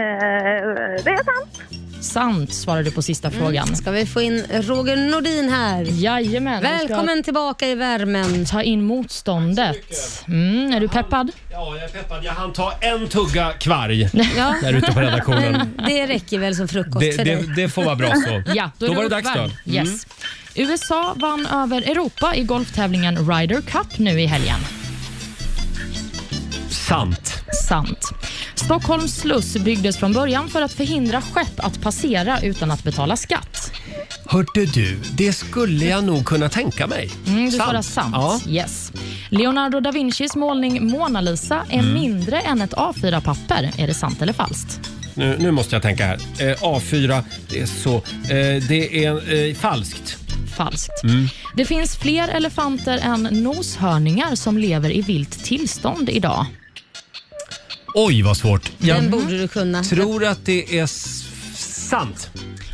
E: det är sant. Mm.
B: Sant svarar du på sista frågan.
C: Ska vi få in Roger Nordin här?
B: Jajamän. vi ska
C: Välkommen tillbaka i värmen.
B: Ta in motståndet. Mm, är du peppad?
A: Ja, jag är peppad. Jag hann ta en tugga kvarg
C: Ja,
A: där ute på redaktionen.
C: det räcker väl som frukost
A: Det,
C: för dig.
A: det, det får vara bra så.
B: Ja, då, är
A: Då Mm. var det
B: uppvärmd.
A: dags då.
B: Yes. USA vann över Europa i golftävlingen Ryder Cup nu i helgen.
A: Sant.
B: Sant. Stockholms sluss byggdes från början för att förhindra skepp att passera utan att betala skatt.
A: Hörde du, det skulle jag nog kunna tänka mig.
B: Mm, du svarar sant.
A: Ja.
B: Yes. Leonardo da Vincis målning Mona Lisa är mindre än ett A4-papper. Är det sant eller falskt?
A: Nu, nu måste jag tänka här. Eh, A4, det är så. Eh, det är eh, falskt.
B: Falskt. Det finns fler elefanter än noshörningar som lever i vilt tillstånd idag.
A: Oj, vad svårt. Jag
C: Den borde du kunna.
A: tror att det är s- sant.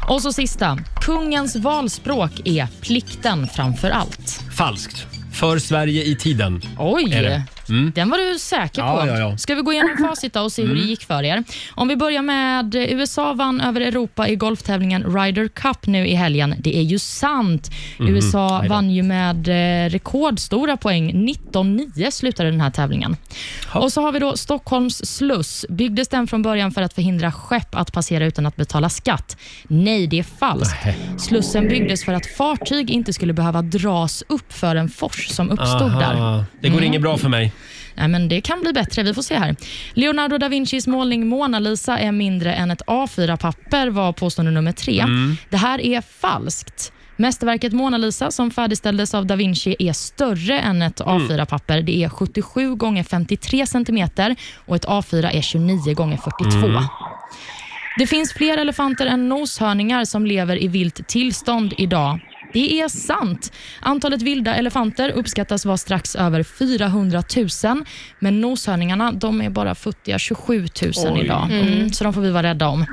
B: Och så sista. Kungens valspråk är plikten framför allt.
A: Falskt. För Sverige i tiden.
B: Oj!
A: Är det? Mm.
B: Den var du säker
A: Ja,
B: på.
A: ja, ja. Mm.
B: Ska vi gå igenom facit då och se hur det gick för er? Om vi börjar med eh, USA vann över Europa i golftävlingen Ryder Cup nu i helgen. Det är ju sant. USA
A: Mhm. Aj då.
B: vann ju med eh, rekordstora poäng. 19-9 slutade den här tävlingen. Och så har vi då Stockholms sluss. Byggdes den från början för att förhindra skepp att passera utan att betala skatt? Nej, det är falskt.
A: Nähä.
B: Slussen byggdes för att fartyg inte skulle behöva dras upp för en fors som uppstod där.
C: Mm.
A: Aha. Det går inget bra för mig.
B: Nej, men det kan bli bättre. Vi får se här. Leonardo da Vincis målning Mona Lisa är mindre än ett A4-papper var påstående nummer tre. Det här är falskt. Mästerverket Mona Lisa som färdigställdes av da Vinci är större än ett A4-papper. Det är 77 gånger 53 centimeter och ett A4 är 29 gånger 42. Det finns fler elefanter än noshörningar som lever i vilt tillstånd idag. Det är sant. Antalet vilda elefanter uppskattas vara strax över 400 000, men noshörningarna de är bara futtiga 27 000 idag. Mm, så de får vi vara rädda om.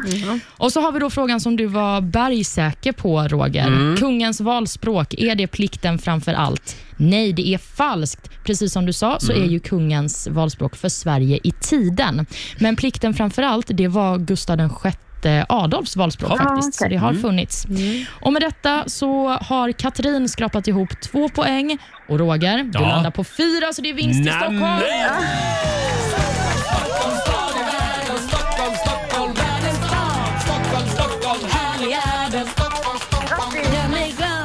B: Och så har vi då frågan som du var bergsäker på, Roger.
A: Mm.
B: Kungens valspråk, är det plikten framför allt? Nej, det är falskt. Precis som du sa så
A: Mm.
B: är ju kungens valspråk för Sverige i tiden. Men plikten framför allt, det var Gustav den sjätte Adolfs valspråk faktiskt, så det har
A: Mm.
B: funnits. Och med detta så har Katrin skrapat ihop två poäng och Roger, du
A: Ja.
B: landar på fyra så det är vinst till Stockholm.
A: Nämen!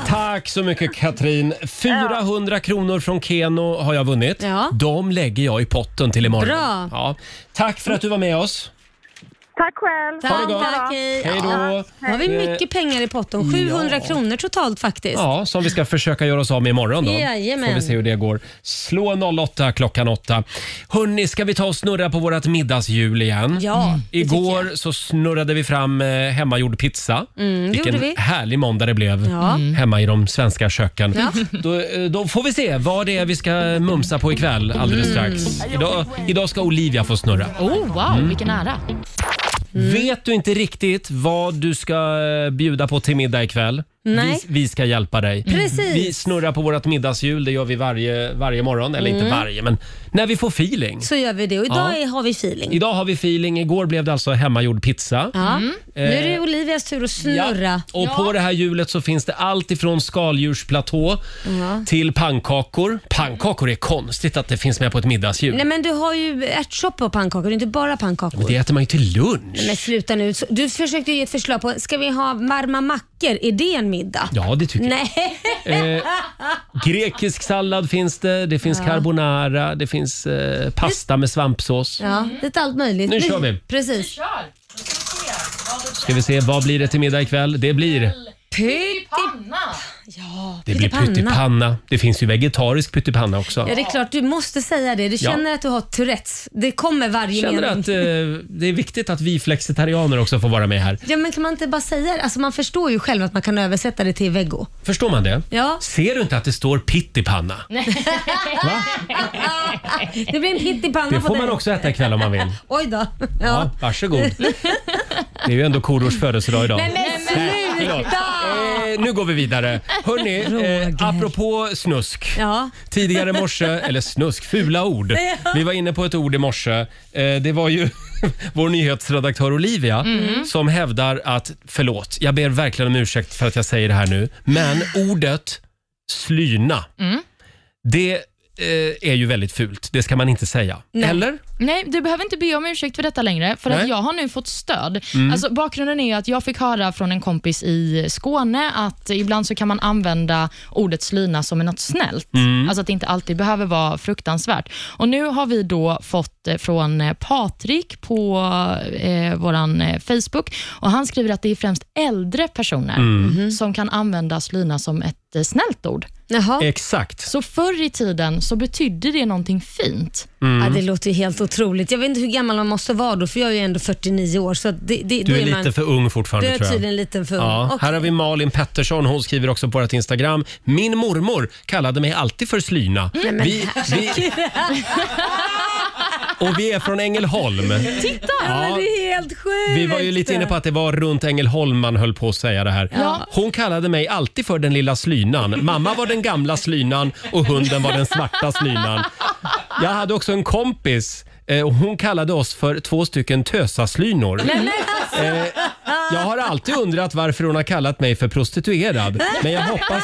A: Tack så mycket Katrin. 400 kronor från Keno har jag vunnit.
C: Ja.
A: De lägger jag i potten till imorgon.
C: Bra.
A: Ja. Tack för att du var med oss.
E: Tack själv.
A: Ha det
C: Tack,
A: gott.
C: tack. Hej.
A: Hej då.
C: Nu har vi mycket pengar i potten. 700 kronor totalt faktiskt.
A: Eh, Ja, som vi ska försöka göra oss av med imorgon då.
C: Jajamän.
A: Får vi se hur det går. Slå 08 klockan 8. Hörni, ska vi ta och snurra på vårt middagshjul igen?
C: Ja, Mm. det tycker
A: Igår så snurrade vi fram eh, hemmagjord pizza. Vilken
C: Mm, gjorde vi.
A: härlig måndag det blev
C: Ja. Mm.
A: hemma i de svenska köken. Då, eh, då får vi se vad det är vi ska mumsa på ikväll alldeles
C: Mm.
A: strax. Idag, idag ska Olivia få snurra.
B: Oh, wow, vilken ära.
C: Mm.
A: Vet du inte riktigt vad du ska eh, bjuda på till middag ikväll?
C: Nej.
A: Vi, vi ska hjälpa dig.
C: Precis.
A: Vi snurrar på vårt middagshjul. Det gör vi varje, varje morgon. Eller
C: Mm.
A: inte varje, men när vi får feeling.
C: Så gör vi det och idag
A: Ja. Mm.
C: är- har vi feeling.
A: Idag har vi feeling. Igår blev det alltså hemmagjord pizza.
C: Ja. Nu är det Olivias tur att snurra.
A: Eh. Ja. Och på det här hjulet så finns det allt ifrån skaldjursplatå till pannkakor. Pannkakor är konstigt att det finns med på ett middagshjul.
C: Nej men du har ju ärtsoppa och pannkakor, det är inte bara pannkakor.
A: Men det äter man ju till lunch.
C: Men sluta nu. Så- Du försökte ju ge ett förslag på, ska vi ha varma mackor? Är det en middag?
A: Ja, det tycker
C: Nej.
A: jag. Eh, grekisk sallad finns det, det finns carbonara, det finns eh, pasta med svampsås.
C: Ja, lite allt möjligt.
A: Nu kör vi.
C: Precis.
A: Ska vi se, vad blir det till middag ikväll? Det blir, det blir pyttipanna. Det finns ju vegetarisk pyttipanna också.
C: Ja, det är klart. Du måste säga det. Du
A: Ja.
C: känner att du har Tourettes. Det kommer varje
A: Känner du
C: mening.
A: att eh, det är viktigt att vi flexitarianer också får vara med här?
C: Ja, men kan man inte bara säga det? Alltså, man förstår ju själv att man kan översätta det till vego.
A: Förstår man det?
C: Ja.
A: Ser du inte att det står pyttipanna?
C: Det blir en hit i pannan
A: Det
C: på
A: får
C: dig.
A: man också äta ikväll om man vill.
C: Oj då.
A: Ja,
C: Ja.
A: varsågod. Det är ju ändå Korosh födelsedag idag.
C: Men
A: Förlåt.
C: sluta!
A: Eh, nu går vi vidare. Hörni, eh, apropå snusk.
C: Ja.
A: Tidigare i morse, eller snusk, fula ord. Vi var inne på ett ord i morse. Eh, det var ju vår nyhetsredaktör Olivia som hävdar att, förlåt, jag ber verkligen om ursäkt för att jag säger det här nu, men ordet slyna, det eh, är ju väldigt fult. Det ska man inte säga. Eller?
B: Nej, du behöver inte be om ursäkt för detta längre, för
A: Nej.
B: att jag har nu fått stöd. Alltså, bakgrunden är ju att jag fick höra från en kompis i Skåne att ibland så kan man använda ordet slyna som något snällt. Alltså att det inte alltid behöver vara fruktansvärt. Och Nu har vi då fått eh, från eh, Patrik på eh, vår eh, Facebook och han skriver att det är främst äldre personer som kan använda slyna som ett eh, snällt ord.
C: Jaha.
A: Exakt.
B: Så förr i tiden så betydde det någonting fint.
A: Mm.
C: Ja, det låter ju helt otroligt. Jag vet inte hur gammal man måste vara då, för jag är ju ändå 49 år. Så det, det, då
A: Du är
C: man,
A: lite för ung fortfarande
C: Du är
A: tror jag.
C: tydligen liten för ung.
A: Ja,
C: Och-
A: Här har vi Malin Pettersson. Hon skriver också på vårt Instagram. Min mormor kallade mig alltid för slyna. Vi, vi... Och vi är från Ängelholm.
B: Titta!
A: Ja,
C: Det är helt sjukt!
A: vi var ju lite inne på att det var runt Ängelholm man höll på att säga det här.
B: Ja.
A: Hon kallade mig alltid för den lilla slynan. Mamma var den gamla slynan och hunden var den svarta slynan. Jag hade också en kompis eh, och hon kallade oss för två stycken tösaslynor. Eh, jag har alltid undrat varför hon har kallat mig för prostituerad, men jag hoppas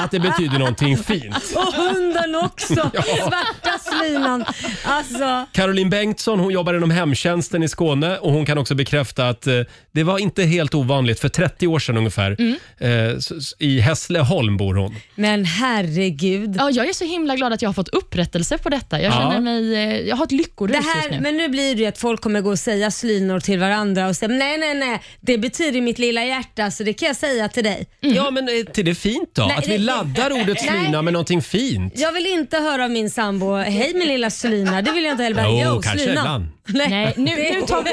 A: att det betyder någonting fint.
C: Och hunden också! alltså, Svarta slinan. Alltså,
A: Caroline Bengtsson hon jobbar inom hemtjänsten i Skåne och hon kan också bekräfta att eh, det var inte helt ovanligt för 30 år sedan ungefär.
C: Mm.
A: Eh, s- s- I Hässleholm bor hon.
C: men herregud.
B: Ja, jag är så himla glad att jag har fått upprättelse på detta. Jag
A: Ja.
B: känner mig... eh, Jag har ett lyckorus
C: Det
B: just nu.
C: här, men nu blir det ju att folk kommer gå och säga slynor till varandra och säga nej, nej, nej, det betyder mitt lilla hjärta så det kan jag säga till dig.
A: Ja, men är inte det fint då?
C: Mm. Nej,
A: att vi
C: det-
A: laddar ordet
C: Nej.
A: slina med någonting fint.
C: Jag vill inte höra av min sambo, hej min lilla slyna. Det vill jag inte heller. Bara,
A: Jo,
C: "Yo,
A: kanske
C: slyna."
A: ibland.
B: Nej, nu, nu tar vi...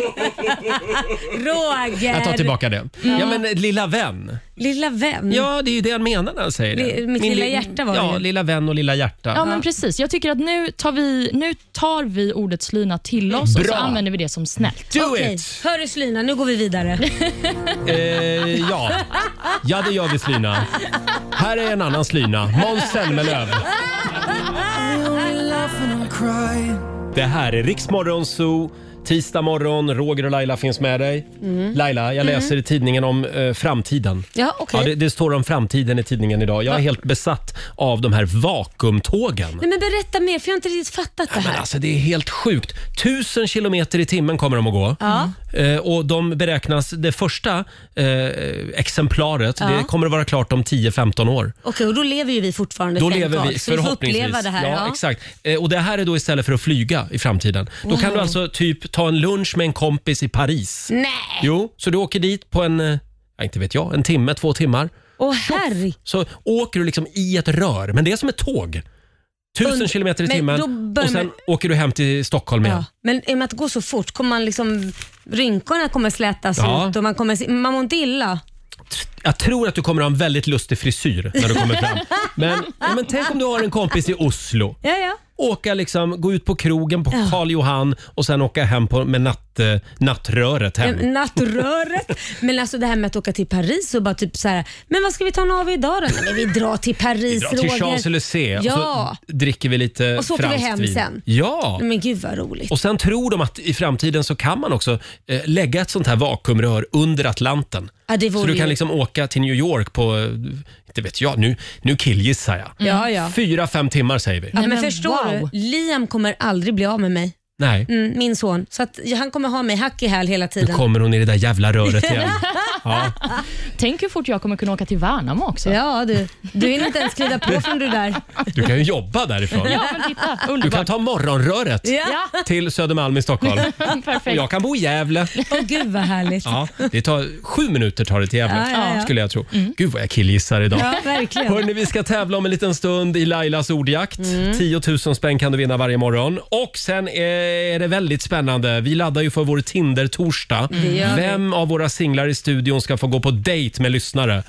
C: Roger.
A: Jag tar tillbaka det.
C: Mm.
A: Ja, men eh, lilla vän.
C: Lilla vän.
A: Ja, det är ju det han menar när han säger det.
C: Li- mitt lilla
A: li-
C: hjärta var det
A: Ja,
C: ju.
A: lilla vän och lilla hjärta.
B: Ja, men precis. Jag tycker att nu tar vi, nu tar vi ordet slyna till oss och så
A: Bra.
B: använder vi det som snällt.
A: Do
C: Okej,
A: it!
C: hör du slyna, nu går vi vidare.
A: Mm. Eh, ja. ja, det gör vi Slina. Här är en annan Slina. Måns Zelmerlöw. Det här är Riksmorgon Zoo. Tisdag morgon, Roger och Laila finns med dig. Laila, jag läser i tidningen om eh, framtiden.
C: Mm. Ja, okej.
A: Ja, det, det står om framtiden i tidningen idag. Jag är helt besatt av de här vakuumtågen.
C: Nej, men berätta mer för jag har inte riktigt fattat det
A: Men
C: här.
A: alltså det är helt sjukt. Tusen kilometer i timmen kommer de att gå. Eh, och de beräknas, det första eh, exemplaret, det kommer att vara klart om 10-15 år.
C: Okej, och då lever ju vi fortfarande
A: Då
C: tänk
A: lever vi
C: Carl, så vi får
A: förhoppningsvis.
C: uppleva det här.
A: ja,
C: Ja,
A: Exakt. Eh, och det här är då istället för att flyga i framtiden. Då kan du alltså typ ta en lunch med en kompis i Paris.
C: Nej,
A: Jo, så du åker dit på en, eh, ja, inte vet jag, en timme, två timmar.
C: åh herre.
A: Så åker du liksom i ett rör, men det är som ett tåg. Tusen
C: Und-
A: kilometer i
C: men
A: timmen
C: då börjar
A: och sen
C: man-
A: åker du hem till Stockholm igen.
C: Ja. Men i och med att gå så fort, kommer man liksom, rynkorna kommer slätas
A: Ja.
C: ut och man, kommer, se- man mår inte illa.
A: Jag tror att du kommer ha en väldigt lustig frisyr när du kommer fram. Men, ja, men tänk om du har en kompis i Oslo.
C: Ja, ja.
A: Åka liksom, gå ut på krogen på Karl Johan och sen åka hem på, med natt, eh, nattröret hem.
C: Mm, Nattröret. Men alltså det här med att åka till Paris och bara typ så här, men vad ska vi ta en av idag då? Nej, men vi drar till
A: Vi
C: Paris
A: drar till
C: Roger.
A: Champs-Élysées och
C: Ja.
A: så dricker vi lite
C: Och så åker vi
A: franskt
C: hem
A: vin.
C: sen.
A: Ja.
C: Men gud vad roligt.
A: Och sen tror de att i framtiden så kan man också eh, lägga ett sånt här vakuumrör under Atlanten.
C: Ja, det
A: Så
C: vore
A: du kan
C: ju-
A: liksom åka till New York på, eh, inte vet jag, nu, nu killgissar jag.
C: Ja, Mm. ja.
A: Fyra, fem timmar säger vi.
C: Ja, men,
B: men
C: förstår
B: wow.
C: du? Liam kommer aldrig bli av med mig.
A: Nej.
C: Mm, min son. Så att han kommer ha mig hack i häl hela
A: Nu
C: tiden.
A: kommer hon i det där jävla röret igen. Ja.
B: Tänk hur fort jag kommer kunna åka till Värnamo också.
C: Ja du, du vill inte ens glida på från du där.
A: Du kan ju jobba därifrån.
B: Ja, men titta.
A: Du
B: Underbart.
A: kan ta morgonröret
C: Ja.
A: till Södermalm i Stockholm. Och
B: Perfekt.
A: jag kan bo i Gävle.
C: Åh gud vad härligt.
A: Ja, det tar sju minuter tar det till Gävle,
C: Ja, ja, ja.
A: skulle jag tro. Gud vad jag killgissar idag.
C: Ja, Mm. verkligen.
A: Hörrni, vi ska tävla om en liten stund i Lailas ordjakt. 10 000 spänn kan du vinna varje morgon. Och sen är det väldigt spännande. Vi laddar ju för vår Tinder-torsdag.
C: Mm. gör vi.
A: Vem av våra singlar i studion ska få gå på dejt med lyssnare?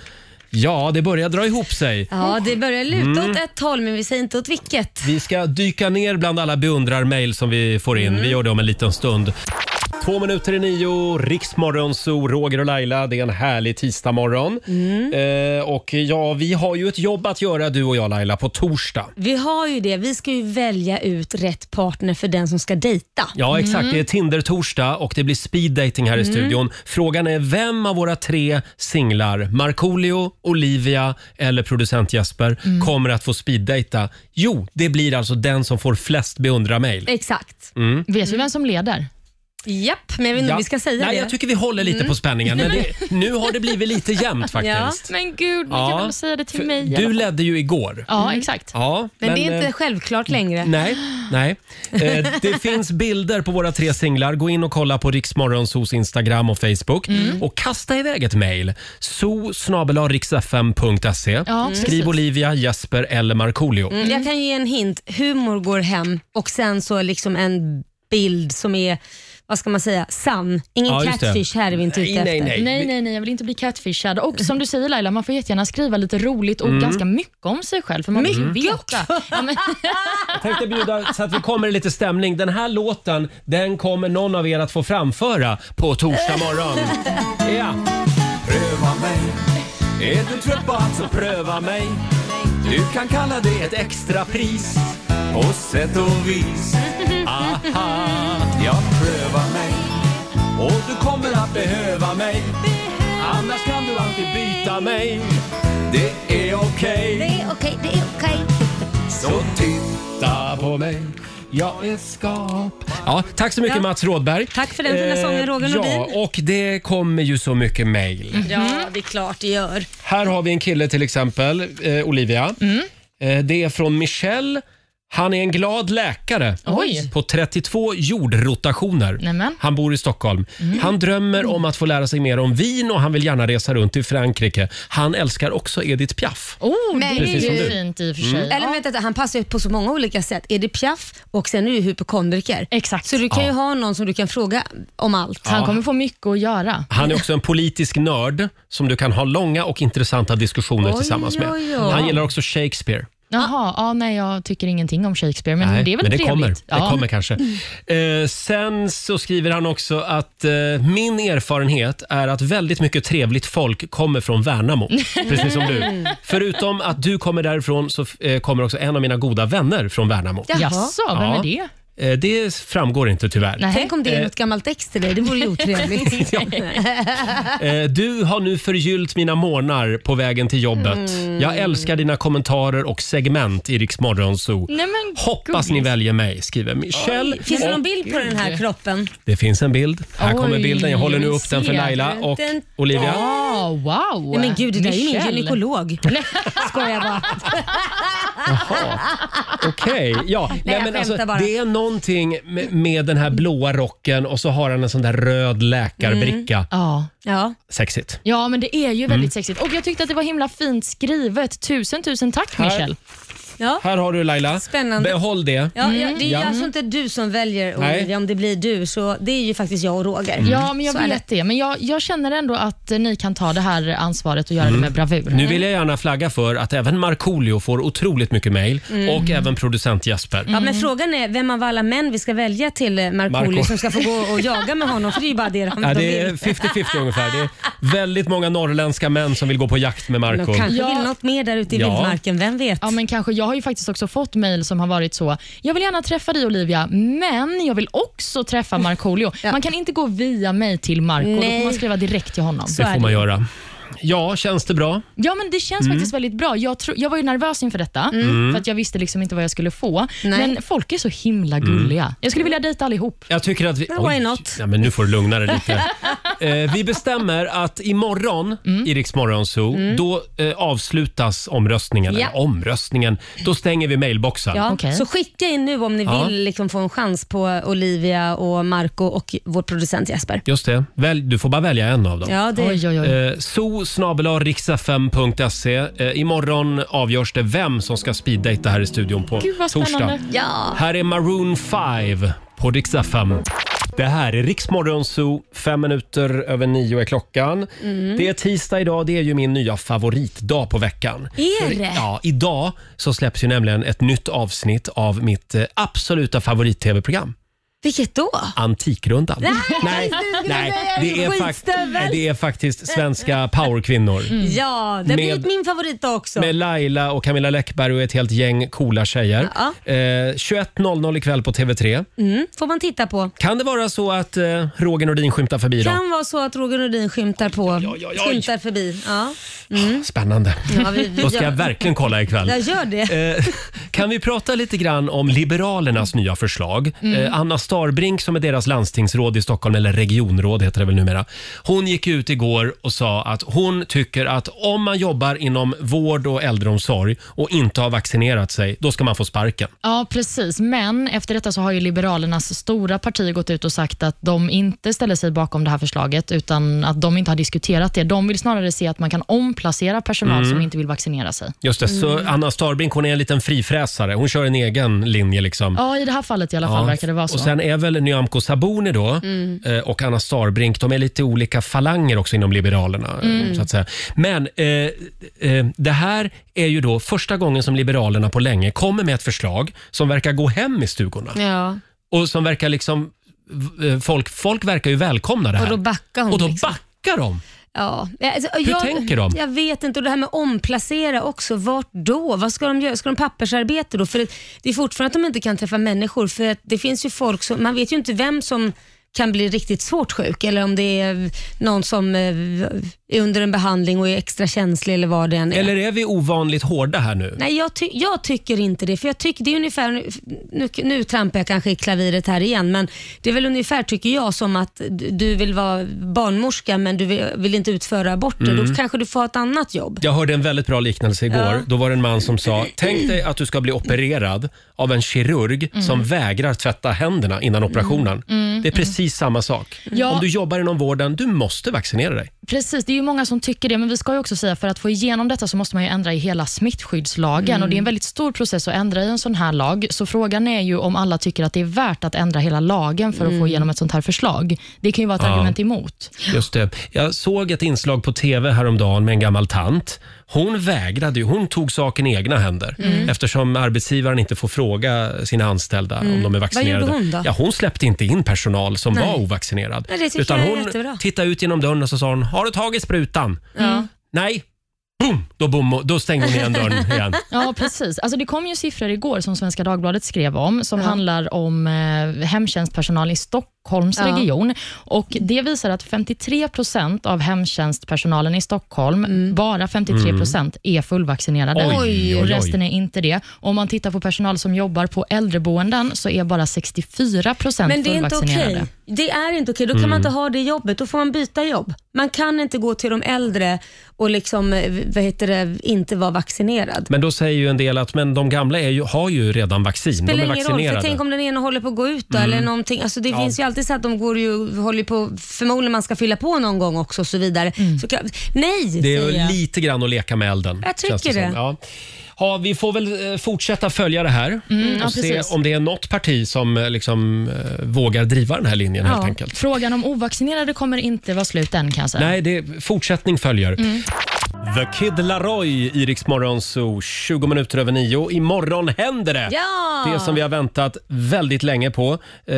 A: Ja, det börjar dra ihop sig.
C: Ja, det börjar luta
A: Mm.
C: åt ett håll men vi säger inte åt vilket.
A: Vi ska dyka ner bland alla beundrarmail som vi får in. Vi gör det om en liten stund. Två minuter i nio, Riksmorgonzoo, Roger och Laila. Det är en härlig tisdagmorgon. Eh, och ja, vi har ju ett jobb att göra du och jag Laila på torsdag.
C: Vi har ju det. Vi ska ju välja ut rätt partner för den som ska dejta.
A: Ja, exakt. Det är Tinder-torsdag och det blir speed dating här i studion. Frågan är vem av våra tre singlar, Markoolio, Olivia eller producent Jesper, kommer att få speed data? Jo, det blir alltså den som får flest beundra-mail.
C: Exakt.
A: Mm.
B: Vet vi vem som leder?
C: Japp, men jag vet inte om vi ska säga
A: Nej,
C: det. Mm.
A: jag tycker vi håller lite på spänningen. Men det, nu har det blivit lite jämnt faktiskt.
B: Men gud, ni
A: Ja.
B: kan väl säga det till mig? i alla
A: Du
B: fall.
A: ledde ju igår.
B: Ja, exakt.
A: Ja,
C: men, det är inte
A: eh,
C: självklart längre.
A: Nej, nej. Eh, det finns bilder på våra tre singlar. Gå in och kolla på Riksmorgonsos Instagram och Facebook.
C: Mm.
A: Och kasta iväg ett mejl. so
B: Ja,
A: Skriv
B: precis.
A: Olivia, Jesper eller Markoolio.
C: Mm. Jag kan ge en hint. Humor går hem och sen så liksom en bild som är, vad ska man säga, sann. Ingen
A: Ja, just det.
C: catfish här är vi inte ute
A: Nej, nej,
C: efter.
A: nej.
B: Nej, nej, nej, jag vill inte bli catfishad. Och som du säger Laila, man får jättegärna skriva lite roligt och ganska mycket om sig själv. För man vill ju veta. Ja, men,
A: Jag tänkte bjuda så att vi kommer i lite stämning. Den här låten, den kommer någon av er att få framföra på torsdag morgon. Ja. Pröva mig. Är du trött på att så pröva mig? Du kan kalla det ett extra pris. På sätt och vis. Aha. Jag prövar mig. Och du kommer att behöva mig. Annars kan du alltid byta mig. Det är okej.
C: Det är okej, det är okej.
A: Så titta på mig jag är skap. Ja, tack så mycket
C: Ja.
A: Mats Rådberg.
C: Tack för den fina sången, Roger
A: Eh, Ja,
C: Nordin. Mm.
A: och det kommer ju så mycket mejl.
C: Ja, det är klart det gör.
A: Här har vi en kille till exempel, eh, Olivia.
C: Mm.
A: Eh, det är från Michel. Han är en glad läkare
B: Oj.
A: på 32 jordrotationer.
B: Nämen.
A: Han bor i Stockholm.
C: Mm.
A: Han drömmer om att få lära sig mer om vin och han vill gärna resa runt i Frankrike. Han älskar också Edith Piaf.
B: Oh,
C: Men-
B: det
C: Precis
B: är
A: som
B: ju
A: du.
B: fint i och för sig.
C: Eller vänta, vänta, han passar ju på så många olika sätt. Är det Piaf och sen är du hypokondriker.
B: Exakt.
C: Så du kan ju
A: Ja.
C: ha någon som du kan fråga om allt.
B: Han kommer få mycket att göra.
A: Han är också en politisk nörd som du kan ha långa och intressanta diskussioner
C: Oj,
A: tillsammans med.
C: oj, oj.
A: Han gillar också Shakespeare.
B: Jaha, ja, nej, jag tycker ingenting om Shakespeare, men det är väl
A: men det
B: trevligt?
A: kommer.
B: Ja.
A: Det kommer kanske. Eh, sen så skriver han också att eh, min erfarenhet är att väldigt mycket trevligt folk kommer från Värnamo, precis som du. Förutom att du kommer därifrån så eh, kommer också en av mina goda vänner från Värnamo.
C: Jaha.
B: Jaså, vem
A: Ja.
B: är det?
A: Eh, det framgår inte tyvärr.
B: Nej.
C: Tänk om det är något gammalt ex till dig, det vore ju otrevligt.
A: Eh, Du har nu förgyllt mina morgnar på vägen till jobbet.
C: Mm.
A: Jag älskar dina kommentarer och segment i Rix Morgon Zoo.
B: Nej, men
A: Hoppas ni
B: gulligt.
A: väljer mig, skriver Michelle.
C: Finns det
A: Och
C: någon bild på den här kroppen?
A: det finns en bild. Här
B: Oj,
A: kommer bilden. Jag håller nu upp den för
B: ser
A: Laila
C: du
A: och
C: den?
A: Olivia.
B: Ah, wow.
C: Nej, men gud, det där är ju min
B: Michelle.
C: gynekolog. Skojar bara.
A: Jaha. Okej. Ja. Nej,
C: jag
A: men
C: skämtar
A: alltså,
C: bara.
A: det är någonting med, med den här blåa rocken och så har han en sån där röd läkarbricka.
C: Mm.
B: Ja.
C: Ja.
A: Sexigt.
B: ja, men det är ju
A: Mm.
B: väldigt sexigt. Och jag tyckte att det var himla fint skrivet. Tusen, tusen tack
A: Här.
B: Michelle.
C: Ja.
A: Här har du Laila.
C: Spännande.
A: Behåll det.
C: Ja, ja, det är ju alltså inte du som väljer
A: Nej.
C: Olivia, om det blir du, så det är ju faktiskt jag och Roger.
B: Ja, men jag
C: Så är
B: vet det. Men jag, jag känner ändå att eh, ni kan ta det här ansvaret och göra
A: Mm.
B: det med bravur.
A: Nu vill jag gärna flagga för att även Markoolio får otroligt mycket mejl
C: Mm.
A: och även producent Jesper.
C: Ja, men frågan är vem av alla män vi ska välja till eh, Markoolio
A: Marco.
C: som ska få gå och jaga med honom, för det är ju bara det de,
A: Ja,
C: de
A: det är
C: vill.
A: 50-50 ungefär. Det är väldigt många norrländska män som vill gå på jakt med
C: De
A: Marco.
C: kanske
B: Ja.
C: vill något mer där ute i
A: Ja.
C: vildmarken, vem vet?
B: Ja, men kanske. Jag har ju faktiskt också fått mejl som har varit så. Jag vill gärna träffa dig Olivia, men jag vill också träffa Markoolio. Man kan inte gå via mig till Marco, då
C: Nej.
B: får man skriva direkt till honom.
A: Det får man göra. Ja, känns det bra?
B: Ja, men det känns faktiskt väldigt bra. Jag, tro, jag var ju nervös inför detta, för att jag visste liksom inte vad jag skulle få.
C: Mm. Nej.
B: Men folk är så himla gulliga. Jag skulle vilja dejta allihop.
A: Jag tycker att vi...
C: Men why not?
A: ja, men nu får du lugna dig lite. eh, vi bestämmer att imorgon
C: Mm.
A: i Rix Morgon Zoo, då eh, avslutas omröstningen.
C: Ja.
A: Eller Omröstningen? Då stänger vi mailboxen.
C: Ja,
B: Okej.
C: Så skicka in nu om ni
A: Ja.
C: vill liksom få en chans på Olivia och Marco och vår producent Jesper.
A: Just det. Välj, du får bara välja en av dem.
C: Ja, det,
B: Oj, oj, oj.
A: Eh, so riksfm.se. Eh, imorgon avgörs det vem som ska speeddejta här i studion på
B: Gud, vad spännande.
A: torsdag.
C: ja.
A: Här är Maroon 5 på riksfm. Det här är Riksmorgon Zoo, fem minuter över nio är klockan. Det är tisdag idag, det är ju min nya favoritdag på veckan.
C: Är
A: För-
C: det?
A: Ja, idag så släpps ju nämligen ett nytt avsnitt av mitt eh, absoluta favorit-tv-program.
C: Vilket då?
A: Antikrundan. Nej,
C: skulle
A: nej,
C: säga
A: det, är
C: skitstövel.
A: fak- det är faktiskt svenska powerkvinnor.
C: Mm. Ja, det
A: Med-
C: har blivit min favorit också.
A: Med Laila och Camilla Läckberg och ett helt gäng coola tjejer.
C: Ja.
A: Eh, 21.00 ikväll på TV3.
C: Mm, får man titta på.
A: Kan det vara så att eh, Roger Nordin skymtar förbi då?
C: Kan vara så att Roger Nordin skymtar på.
A: oj, oj.
C: Skymtar förbi. Ja.
A: Spännande.
C: Mm. Ja, vi, vi
A: Då ska jag
C: gör,
A: verkligen kolla ikväll.
C: jag gör det.
A: Eh, Kan vi prata lite grann om Liberalernas nya förslag? Eh, Anna Starbrink som är deras landstingsråd i Stockholm, eller regionråd heter det väl numera. Hon gick ut igår och sa att hon tycker att om man jobbar inom vård och äldreomsorg och inte har vaccinerat sig, då ska man få sparken.
B: Ja, precis. Men efter detta så har ju Liberalernas stora parti gått ut och sagt att de inte ställer sig bakom det här förslaget, utan att de inte har diskuterat det. De vill snarare se att man kan omplacera personal
A: Mm.
B: som inte vill vaccinera sig.
A: Just det, så Anna Starbrink hon är en liten frifräsare. Hon kör en egen linje liksom.
B: Ja, i det här fallet i alla fall verkar det vara så.
A: Och sen är väl Nyamko Sabuni då
C: Mm.
A: eh, och Anna Starbrink, de är lite olika falanger också inom Liberalerna. eh,
C: Mm.
A: Så att säga. Men eh, eh, det här är ju då första gången som Liberalerna på länge kommer med ett förslag som verkar gå hem i stugorna.
C: Ja.
A: Och som verkar liksom, v- eh, folk, folk verkar ju välkomna det här.
C: Och då backar hon.
A: Och då
C: liksom.
A: backar de.
C: Ja. Alltså, jag,
A: tänker de?
C: Jag vet inte. Och det här med omplacera också. Vart då? Vad ska de göra? Ska de pappersarbete då? För det, det är fortfarande att de inte kan träffa människor. För att det finns ju folk som, man vet ju inte vem som kan bli riktigt svårt sjuk eller om det är någon som eh, är under en behandling och är extra känslig eller vad det än är.
A: Eller är vi ovanligt hårda här nu?
C: Nej, jag, ty- jag tycker inte det. För jag tycker det är ungefär, nu, nu trampar jag kanske i klaviret här igen, men det är väl ungefär tycker jag som att d- du vill vara barnmorska men du vill, vill inte utföra aborter.
A: Mm.
C: Då kanske du får ha ett annat jobb.
A: Jag hörde en väldigt bra liknelse igår.
C: Ja.
A: Då var det en man som sa, tänk dig att du ska bli opererad av en kirurg
B: Mm.
A: som vägrar tvätta händerna innan operationen.
B: Mm,
A: Det är
B: mm.
A: precis samma sak.
B: Ja.
A: Om du jobbar inom vården, du måste vaccinera dig.
B: Precis, det är ju många som tycker det, men vi ska ju också säga för att få igenom detta så måste man ju ändra i hela smittskyddslagen
I: Mm.
B: och det är en väldigt stor process att ändra i en sån här lag. Så frågan är ju om alla tycker att det är värt att ändra hela lagen för att få igenom ett sånt här förslag. Det kan ju vara ett
A: Ja.
B: argument emot.
A: Just det. Jag såg ett inslag på TV häromdagen med en gammal tant. Hon vägrade ju, hon tog saken i egna händer
B: Mm.
A: eftersom arbetsgivaren inte får fråga sina anställda
C: Mm.
A: om de är
C: Vad
A: vaccinerade.
C: gjorde hon då?
A: Ja, hon släppte inte in personal som
C: Nej.
A: var ovaccinerad.
C: Nej, det tycker
A: utan
C: jag är
A: hon
C: jättebra.
A: tittade ut genom dörren och så sa hon, har du tagit sprutan?
B: Ja.
A: Nej. Boom! Då, bom, då stängde hon igen dörren igen.
B: Ja, precis. Alltså, det kom ju siffror igår som Svenska Dagbladet skrev om, som handlar om eh, hemtjänstpersonal i Stockholms
I: Ja.
B: region. Och det visar att 53 procent av hemtjänstpersonalen i Stockholm,
C: Mm.
B: bara 53 procent, är fullvaccinerade.
I: Mm. Oj, oj, oj.
B: Och resten är inte det. Om man tittar på personal som jobbar på äldreboenden, så är bara 64 procent
C: Men det är inte
B: fullvaccinerade.
C: okej. Det är inte okej. Då kan man
B: Mm.
C: inte ha det jobbet. Då får man byta jobb. Man kan inte gå till de äldre och liksom, eh, vad heter det, inte vara vaccinerad.
A: Men då säger ju en del att men de gamla är ju, har ju redan vaccin.
C: spelar
A: de är
C: ingen roll,
A: vaccinerade.
C: för tänk om den ena håller på att gå ut då,
A: Mm.
C: eller någonting. Alltså det
A: Ja.
C: finns ju alltid så att de går ju, håller på, förmodligen man ska fylla på någon gång också och så vidare. Så kan, nej,
A: Det är
C: säger jag.
A: ju lite grann att leka med elden.
C: Jag tycker
A: känns som.
C: det.
A: Ja. Ja, vi får väl eh, fortsätta följa det här
B: Mm, ja,
A: och se
B: precis.
A: om det är något parti som eh, liksom, eh, vågar driva den här linjen. helt
B: Ja.
A: enkelt.
B: Frågan om ovaccinerade kommer inte vara slut än, kan jag säga.
A: Nej, det, fortsättning följer.
B: Mm.
A: The Kid Laroi i Rix Morgon Zoo, 20 minuter över nio. Imorgon händer det!
C: Ja!
A: Det som vi har väntat väldigt länge på. Eh,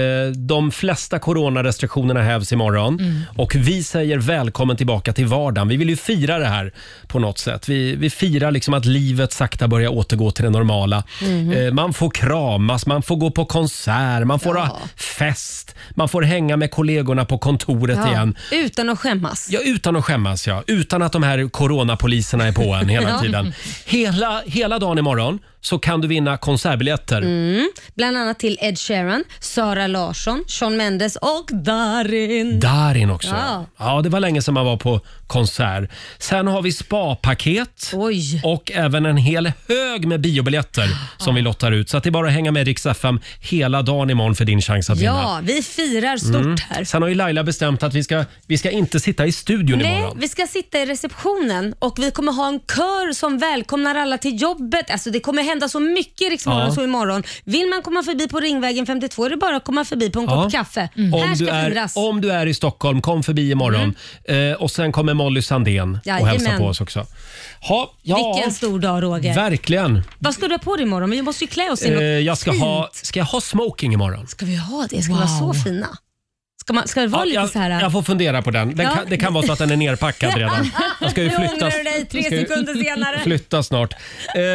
A: De flesta coronarestriktionerna hävs imorgon
J: Mm.
A: och vi säger välkommen tillbaka till vardagen. Vi vill ju fira det här på något sätt. Vi, vi firar liksom att livet sakta börjar återgå till det normala.
J: Mhm.
A: Eh, Man får kramas, man får gå på konsert, man får ha fest, man får hänga med kollegorna på kontoret
C: Ja.
A: igen.
C: Utan att skämmas.
A: Ja, utan att skämmas ja. Utan att de här coronapoliserna är på en hela
C: Ja.
A: tiden. Hela, hela dagen imorgon så kan du vinna konsertbiljetter.
C: Mm. Bland annat till Ed Sheeran, Sara Larsson, Shawn Mendes och Darin.
A: Darin också. Ja.
C: Ja.
A: ja, det var länge sedan man var på konsert. Sen har vi spapaket och även en hel hög med biobiljetter som vi lottar ut. Så att det är bara att hänga med Rix FM hela dagen imorgon för din chans att vinna.
C: Ja, vi firar stort
A: Mm.
C: här.
A: Sen har ju Laila bestämt att vi ska, vi ska inte sitta i studion
C: Nej,
A: imorgon.
C: vi ska sitta i receptionen och vi kommer ha en kör som välkomnar alla till jobbet. Alltså det kommer hända så mycket i Rix
A: Ja.
C: Morgon så imorgon. Vill man komma förbi på Ringvägen 52 är det bara att komma förbi på en kopp
A: Ja.
C: kaffe. Här
A: Om,
C: ska
A: du är,
C: firas.
A: om du är i Stockholm, kom förbi imorgon. Eh, och sen kommer Molly Sandén och
C: Jajamän.
A: hälsa på oss också. Ha, ja,
C: Vilken stor dag Roger.
A: Verkligen.
C: Vad ska du ha på dig imorgon? Vi måste ju klä oss i
A: Eh,
C: något
A: jag ska
C: fint.
A: ha, ska jag ha smoking imorgon?
C: Ska vi ha det? Ska vi vara så fina? Ska, man, ska det vara lite
A: jag,
C: så här?
A: jag får fundera på den. den
C: Ja.
A: kan, det kan vara så att den är nerpackad redan. Jag ska ju
C: Nu
A: flytta,
C: ångrar du dig tre
A: jag ska ju
C: sekunder senare.
A: flytta snart.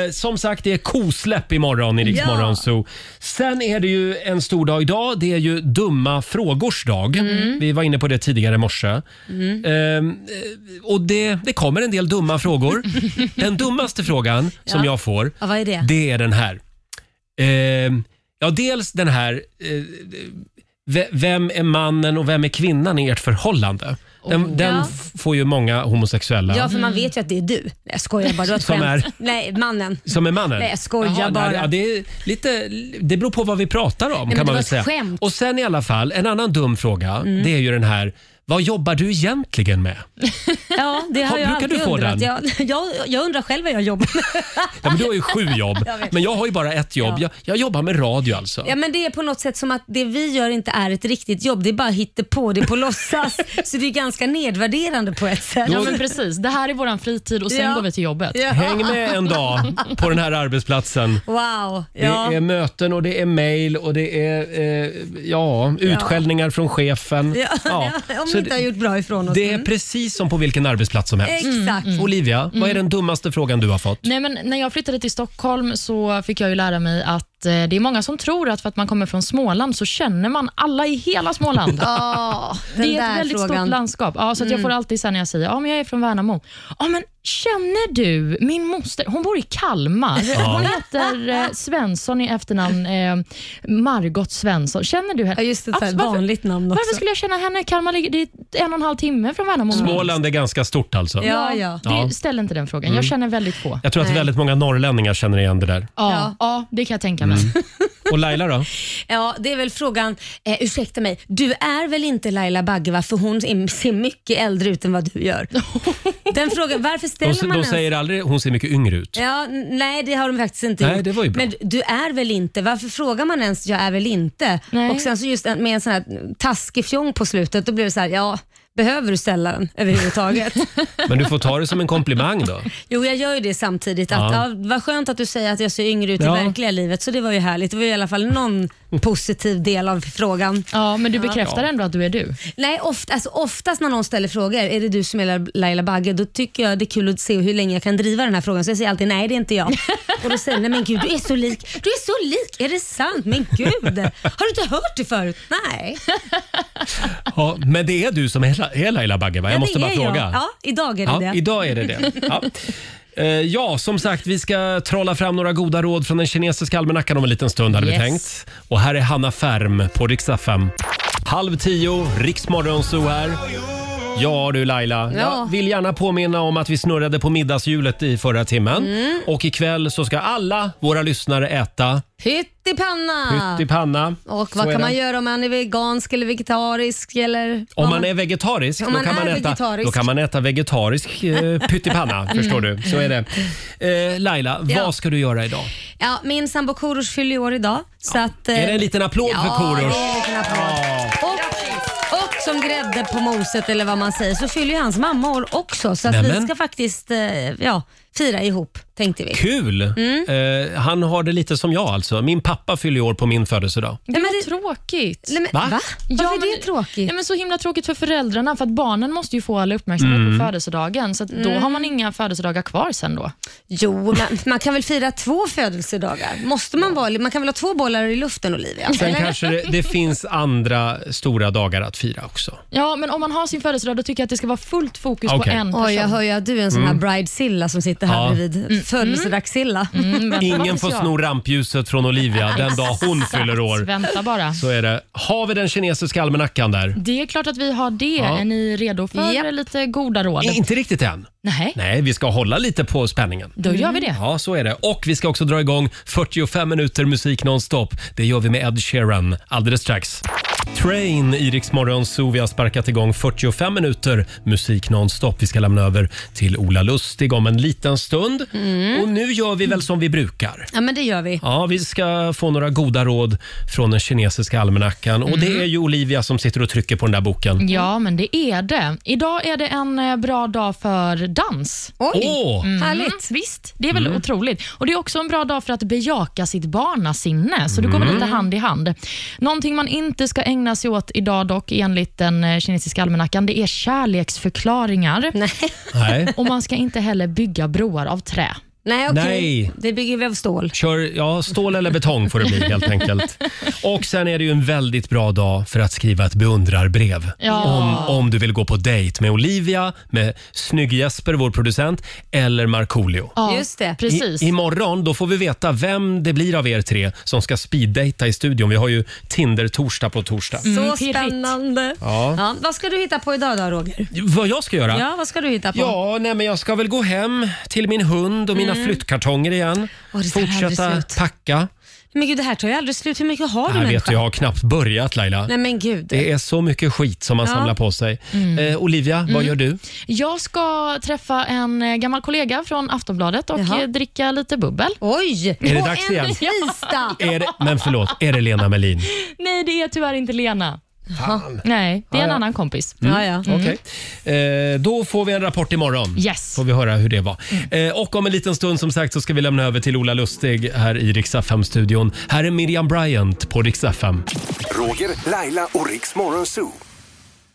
A: Eh, som sagt, det är kosläpp imorgon i Rix
C: Ja.
A: Morgon Zoo. Sen är det ju en stor dag idag. Det är ju dumma frågors dag.
J: Mm.
A: Vi var inne på det tidigare i morse.
J: Mm.
A: Ehm, eh, och det, det kommer en del dumma frågor. Den dummaste frågan som
C: Ja.
A: jag får,
C: Ja, vad är det?
A: det är den här. Ehm, ja, dels den här, eh, ve- vem är mannen och vem är kvinnan i ert förhållande? Den,
C: Oh.
A: den
C: Ja.
A: f- får ju många homosexuella.
C: Ja, för man vet ju att det är du. Nej, jag skojar bara. Du har ett
A: Mm. Som
C: skämt.
A: är-
C: Nej, mannen.
A: Som är mannen?
C: Nej, jag skojar
A: Jaha,
C: bara.
A: nej, Ja, det, är lite, det beror på vad vi pratar om kan
C: men det
A: man
C: var
A: väl
C: ett
A: säga.
C: skämt.
A: Och sen i alla fall, en annan dum fråga,
C: Mm.
A: det är ju den här, vad jobbar du egentligen med?
C: Ja, det har,
A: Har-
C: jag
A: brukar du
C: alltid
A: få
C: undrat.
A: den?
C: Jag, jag, jag undrar själv vad jag jobbar med.
A: Ja, men du har ju sju jobb,
C: Jag vet.
A: men jag har ju bara ett jobb.
C: Ja.
A: Jag, jag jobbar med radio alltså.
C: Ja, men det är på något sätt som att det vi gör inte är ett riktigt jobb. Det är bara hittepå, det är på låtsas. Så det är ganska nedvärderande på ett sätt.
A: Ja, men
B: precis. Det här är vår fritid och sen går vi till jobbet.
A: Häng med en dag på den här arbetsplatsen.
C: Wow.
A: Det är möten och det är mejl och det är eh, ja, utskällningar från chefen.
C: Ja, om
A: Så
C: vi inte har
A: det-
C: gjort bra ifrån oss.
A: Det är precis som på vilken arbetsplats som helst.
B: Exakt. Mm.
A: Olivia, vad är den dummaste frågan du har fått?
B: Nej, men när jag flyttade till Stockholm så fick jag ju lära mig att att eh, det är många som tror att för att man kommer från Småland så känner man alla i hela Småland.
C: Ja, den
B: det är
C: där
B: ett väldigt
C: frågan. Mm.
B: stort landskap. Ja, så att jag får alltid sen när jag säger ja, men jag är från Värnamo. Ja, men känner du min moster? Hon bor i Kalmar. Hon heter eh, Svensson i efternamn. Eh, Margot Svensson. Känner du henne?
C: Ja, just det. ett så här
B: Absolut. Varför-
C: vanligt namn också.
B: Varför skulle jag känna henne? Kalmar ligger, det är en och en halv timme från Värnamo.
A: Småland är ganska stort alltså.
C: Mm. Ja, ja. Mm.
B: Det,
A: Ja.
B: Ställ inte den frågan. Jag känner väldigt få.
A: Jag tror att
C: Nej.
A: väldigt många norrlänningar känner igen det där.
B: Ja,
C: Ja. Mm.
B: ja. det kan jag tänka mig.
A: Och Laila då?
C: Ja, det är väl frågan. Eh, ursäkta mig, du är väl inte Laila Bagge va? För hon är- ser mycket äldre ut än vad du gör. Den frågan, varför
A: De,
C: ställer man
A: de
C: ens-
A: säger aldrig hon ser mycket yngre ut.
C: Ja, n- nej, det har de faktiskt inte
A: Nej,
C: gjort.
A: det var ju bra.
C: Men du- du är väl inte? Varför frågar man ens jag är väl inte?
B: Nej.
C: Och sen så just en- med en sån här taskig fjong på slutet, då blir det så här, ja, behöver du ställa den överhuvudtaget?
A: Men du får ta det som en komplimang då.
C: jo, jag gör ju det samtidigt. Att,
A: Ja.
C: ja. vad skönt att du säger att jag ser yngre ut
A: Ja.
C: i verkliga livet, så det var ju härligt. Det var ju i alla fall någon positiv del av frågan.
B: Ja, men du bekräftar ändå att du är du.
C: Nej, ofta, alltså oftast när någon ställer frågor, är det du som är La- Laila Bagge, då tycker jag det är kul att se hur länge jag kan driva den här frågan. Så jag säger alltid nej, det är inte jag. Och då säger de, nej men gud du är så lik, du är så lik, är det sant? Men gud, har du inte hört det förut? Nej.
A: Ja, men det är du som är, La- är Laila Bagge va? Jag
C: Ja,
A: måste
C: det
A: bara
C: är
A: fråga.
C: Jag. Ja, idag är det
A: Ja,
C: det.
A: idag är det det. Ja. Eh, ja, som sagt, vi ska trolla fram några goda råd från den kinesiska almanackan om en liten stund hade vi
B: Yes.
A: tänkt. Och här är Hanna Färm på riksdag 5. Halv tio, Riksmorgon så här. Ja du Laila, jag vill gärna påminna om att vi snurrade på middagshjulet i förra timmen.
C: Mm.
A: Och ikväll så ska alla våra lyssnare äta
C: Pyttipanna!
A: pyttipanna.
C: Och
A: Så
C: vad
A: är
C: kan
A: det.
C: man göra om man är vegetarisk eller vegetarisk? Eller
A: Om man är vegetarisk,
C: Om
A: då,
C: man
A: kan
C: är
A: man äta,
C: vegetarisk. Mm.
A: då kan man äta vegetarisk eh, pyttipanna. förstår du? Så är det. Eh, Laila,
C: Ja.
A: vad ska du göra idag?
C: ja, min sambo Korosh fyller ju år idag. Så att, eh,
A: Är det en liten applåd för
C: Ja,
A: Korosh?
C: det är en liten applåd. Och, och som grädde på moset eller vad man säger så fyller ju hans mamma år också. Så att vi
A: Nämen.
C: ska faktiskt eh, ja, fira ihop tänkte vi.
A: Kul!
C: Mm.
A: Eh, han har det lite som jag alltså. Min pappa fyller ju år på min födelsedag.
B: Det
C: men
B: var
C: det-
B: tråkigt.
C: Nej, men,
A: Va?
C: va? Varför
B: Ja,
C: är det
B: men-
C: tråkigt?
B: Nej, men så himla tråkigt för föräldrarna, för att barnen måste ju få all uppmärksamhet
A: Mm.
B: på födelsedagen. Så att då har
C: Mm.
B: man inga födelsedagar kvar sen då.
C: Jo, man, man kan väl fira två födelsedagar? Måste man vara, man kan väl ha två bollar i luften Olivia?
A: Sen
C: Eller?
A: kanske det, det finns andra stora dagar att fira också.
C: Mm,
B: Ja, men om man har sin födelsedag, då tycker jag att det ska vara fullt fokus på
A: Okej.
B: en person.
C: Oj, jag hör ju att du är en sån här bridezilla som sitter här
A: Ja.
C: bredvid. Födelsedagszilla.
A: Ingen får sno rampljuset från Olivia den dag hon fyller år.
B: Vänta bara.
A: Så är det. Har vi den kinesiska almanackan där?
B: Det är klart att vi har det.
A: Ja.
B: Är ni redo för
C: Japp.
B: lite goda råd?
A: Inte riktigt än.
B: Nej,
A: Nej, vi ska hålla lite på spänningen.
B: då gör vi det.
A: Ja, så är det. Och vi ska också dra igång 45 minuter musik nonstop. Det gör vi med Ed Sheeran alldeles strax. Train i Rix Morgon Zoo. Vi har sparkat igång 45 minuter musik nonstop. Vi ska lämna över till Ola Lustig om en liten stund. Och nu gör vi väl som vi brukar.
C: Ja, men det gör vi.
A: Ja, vi ska få några goda råd från den kinesiska almanackan. Och det är ju Olivia som sitter och trycker på den där boken.
C: Mm.
B: Ja, men det är det. Idag är det en eh, bra dag för dans.
C: Oj,
A: Åh!
C: härligt.
B: Mm, visst, det är väl otroligt. Och Det är också en bra dag för att bejaka sitt barnasinne, så det går väl lite hand i hand. Någonting man inte ska ägna sig åt idag dock, enligt den eh, kinesiska almanackan, det är kärleksförklaringar.
A: Nej.
B: Och man ska inte heller bygga broar av trä.
C: Nej, okej.
A: Nej.
C: Det bygger vi av stål.
A: Kör ja, stål eller betong får det bli helt enkelt. Och sen är det ju en väldigt bra dag för att skriva ett beundrarbrev.
B: Ja.
A: Om, om du vill gå på dejt med Olivia, med Snygg-Jesper, vår producent, eller Markoolio.
B: Ja,
C: Just det.
B: Precis.
A: I, imorgon då får vi veta vem det blir av er tre som ska speeddejta i studion. Vi har ju Tinder-torsdag på torsdag.
C: Så
B: pirrigt.
C: spännande.
A: Ja.
C: Ja, vad ska du hitta på idag då Roger?
A: Vad jag ska göra?
C: Ja, vad ska du hitta på?
A: Ja, nej, men jag ska väl gå hem till min hund och mina flyttkartonger igen.
C: Mm. Åh, det tar
A: Fortsätta
C: aldrig slut.
A: packa.
C: Men gud, det här tar ju aldrig slut. Hur mycket har du
A: Jag vet
C: människa?
A: du, jag har knappt börjat Laila.
C: Nej men gud.
A: Det är så mycket skit som man
C: Ja.
A: samlar på sig. Eh, Olivia, vad gör du?
B: Jag ska träffa en eh, gammal kollega från Aftonbladet och
C: Jaha.
B: eh, dricka lite bubbel.
C: Oj!
A: det
C: på
A: dags
C: en
A: igen?
C: tisdag!
A: Är det, men förlåt, är det Lena Melin?
B: Nej, det är tyvärr inte Lena.
A: Fan.
B: Nej, det är
A: Ja,
B: en
A: ja.
B: annan kompis.
A: Mm.
C: Ja, ja.
A: Okej. Eh, då får vi en rapport imorgon.
B: Yes.
A: Får vi höra hur det var. Eh, och om en liten stund som sagt så ska vi lämna över till Ola Lustig här i Rix FM-studion. Här är Miriam Bryant på Rix FM.
D: Roger, Laila och Riks Morgonzoo.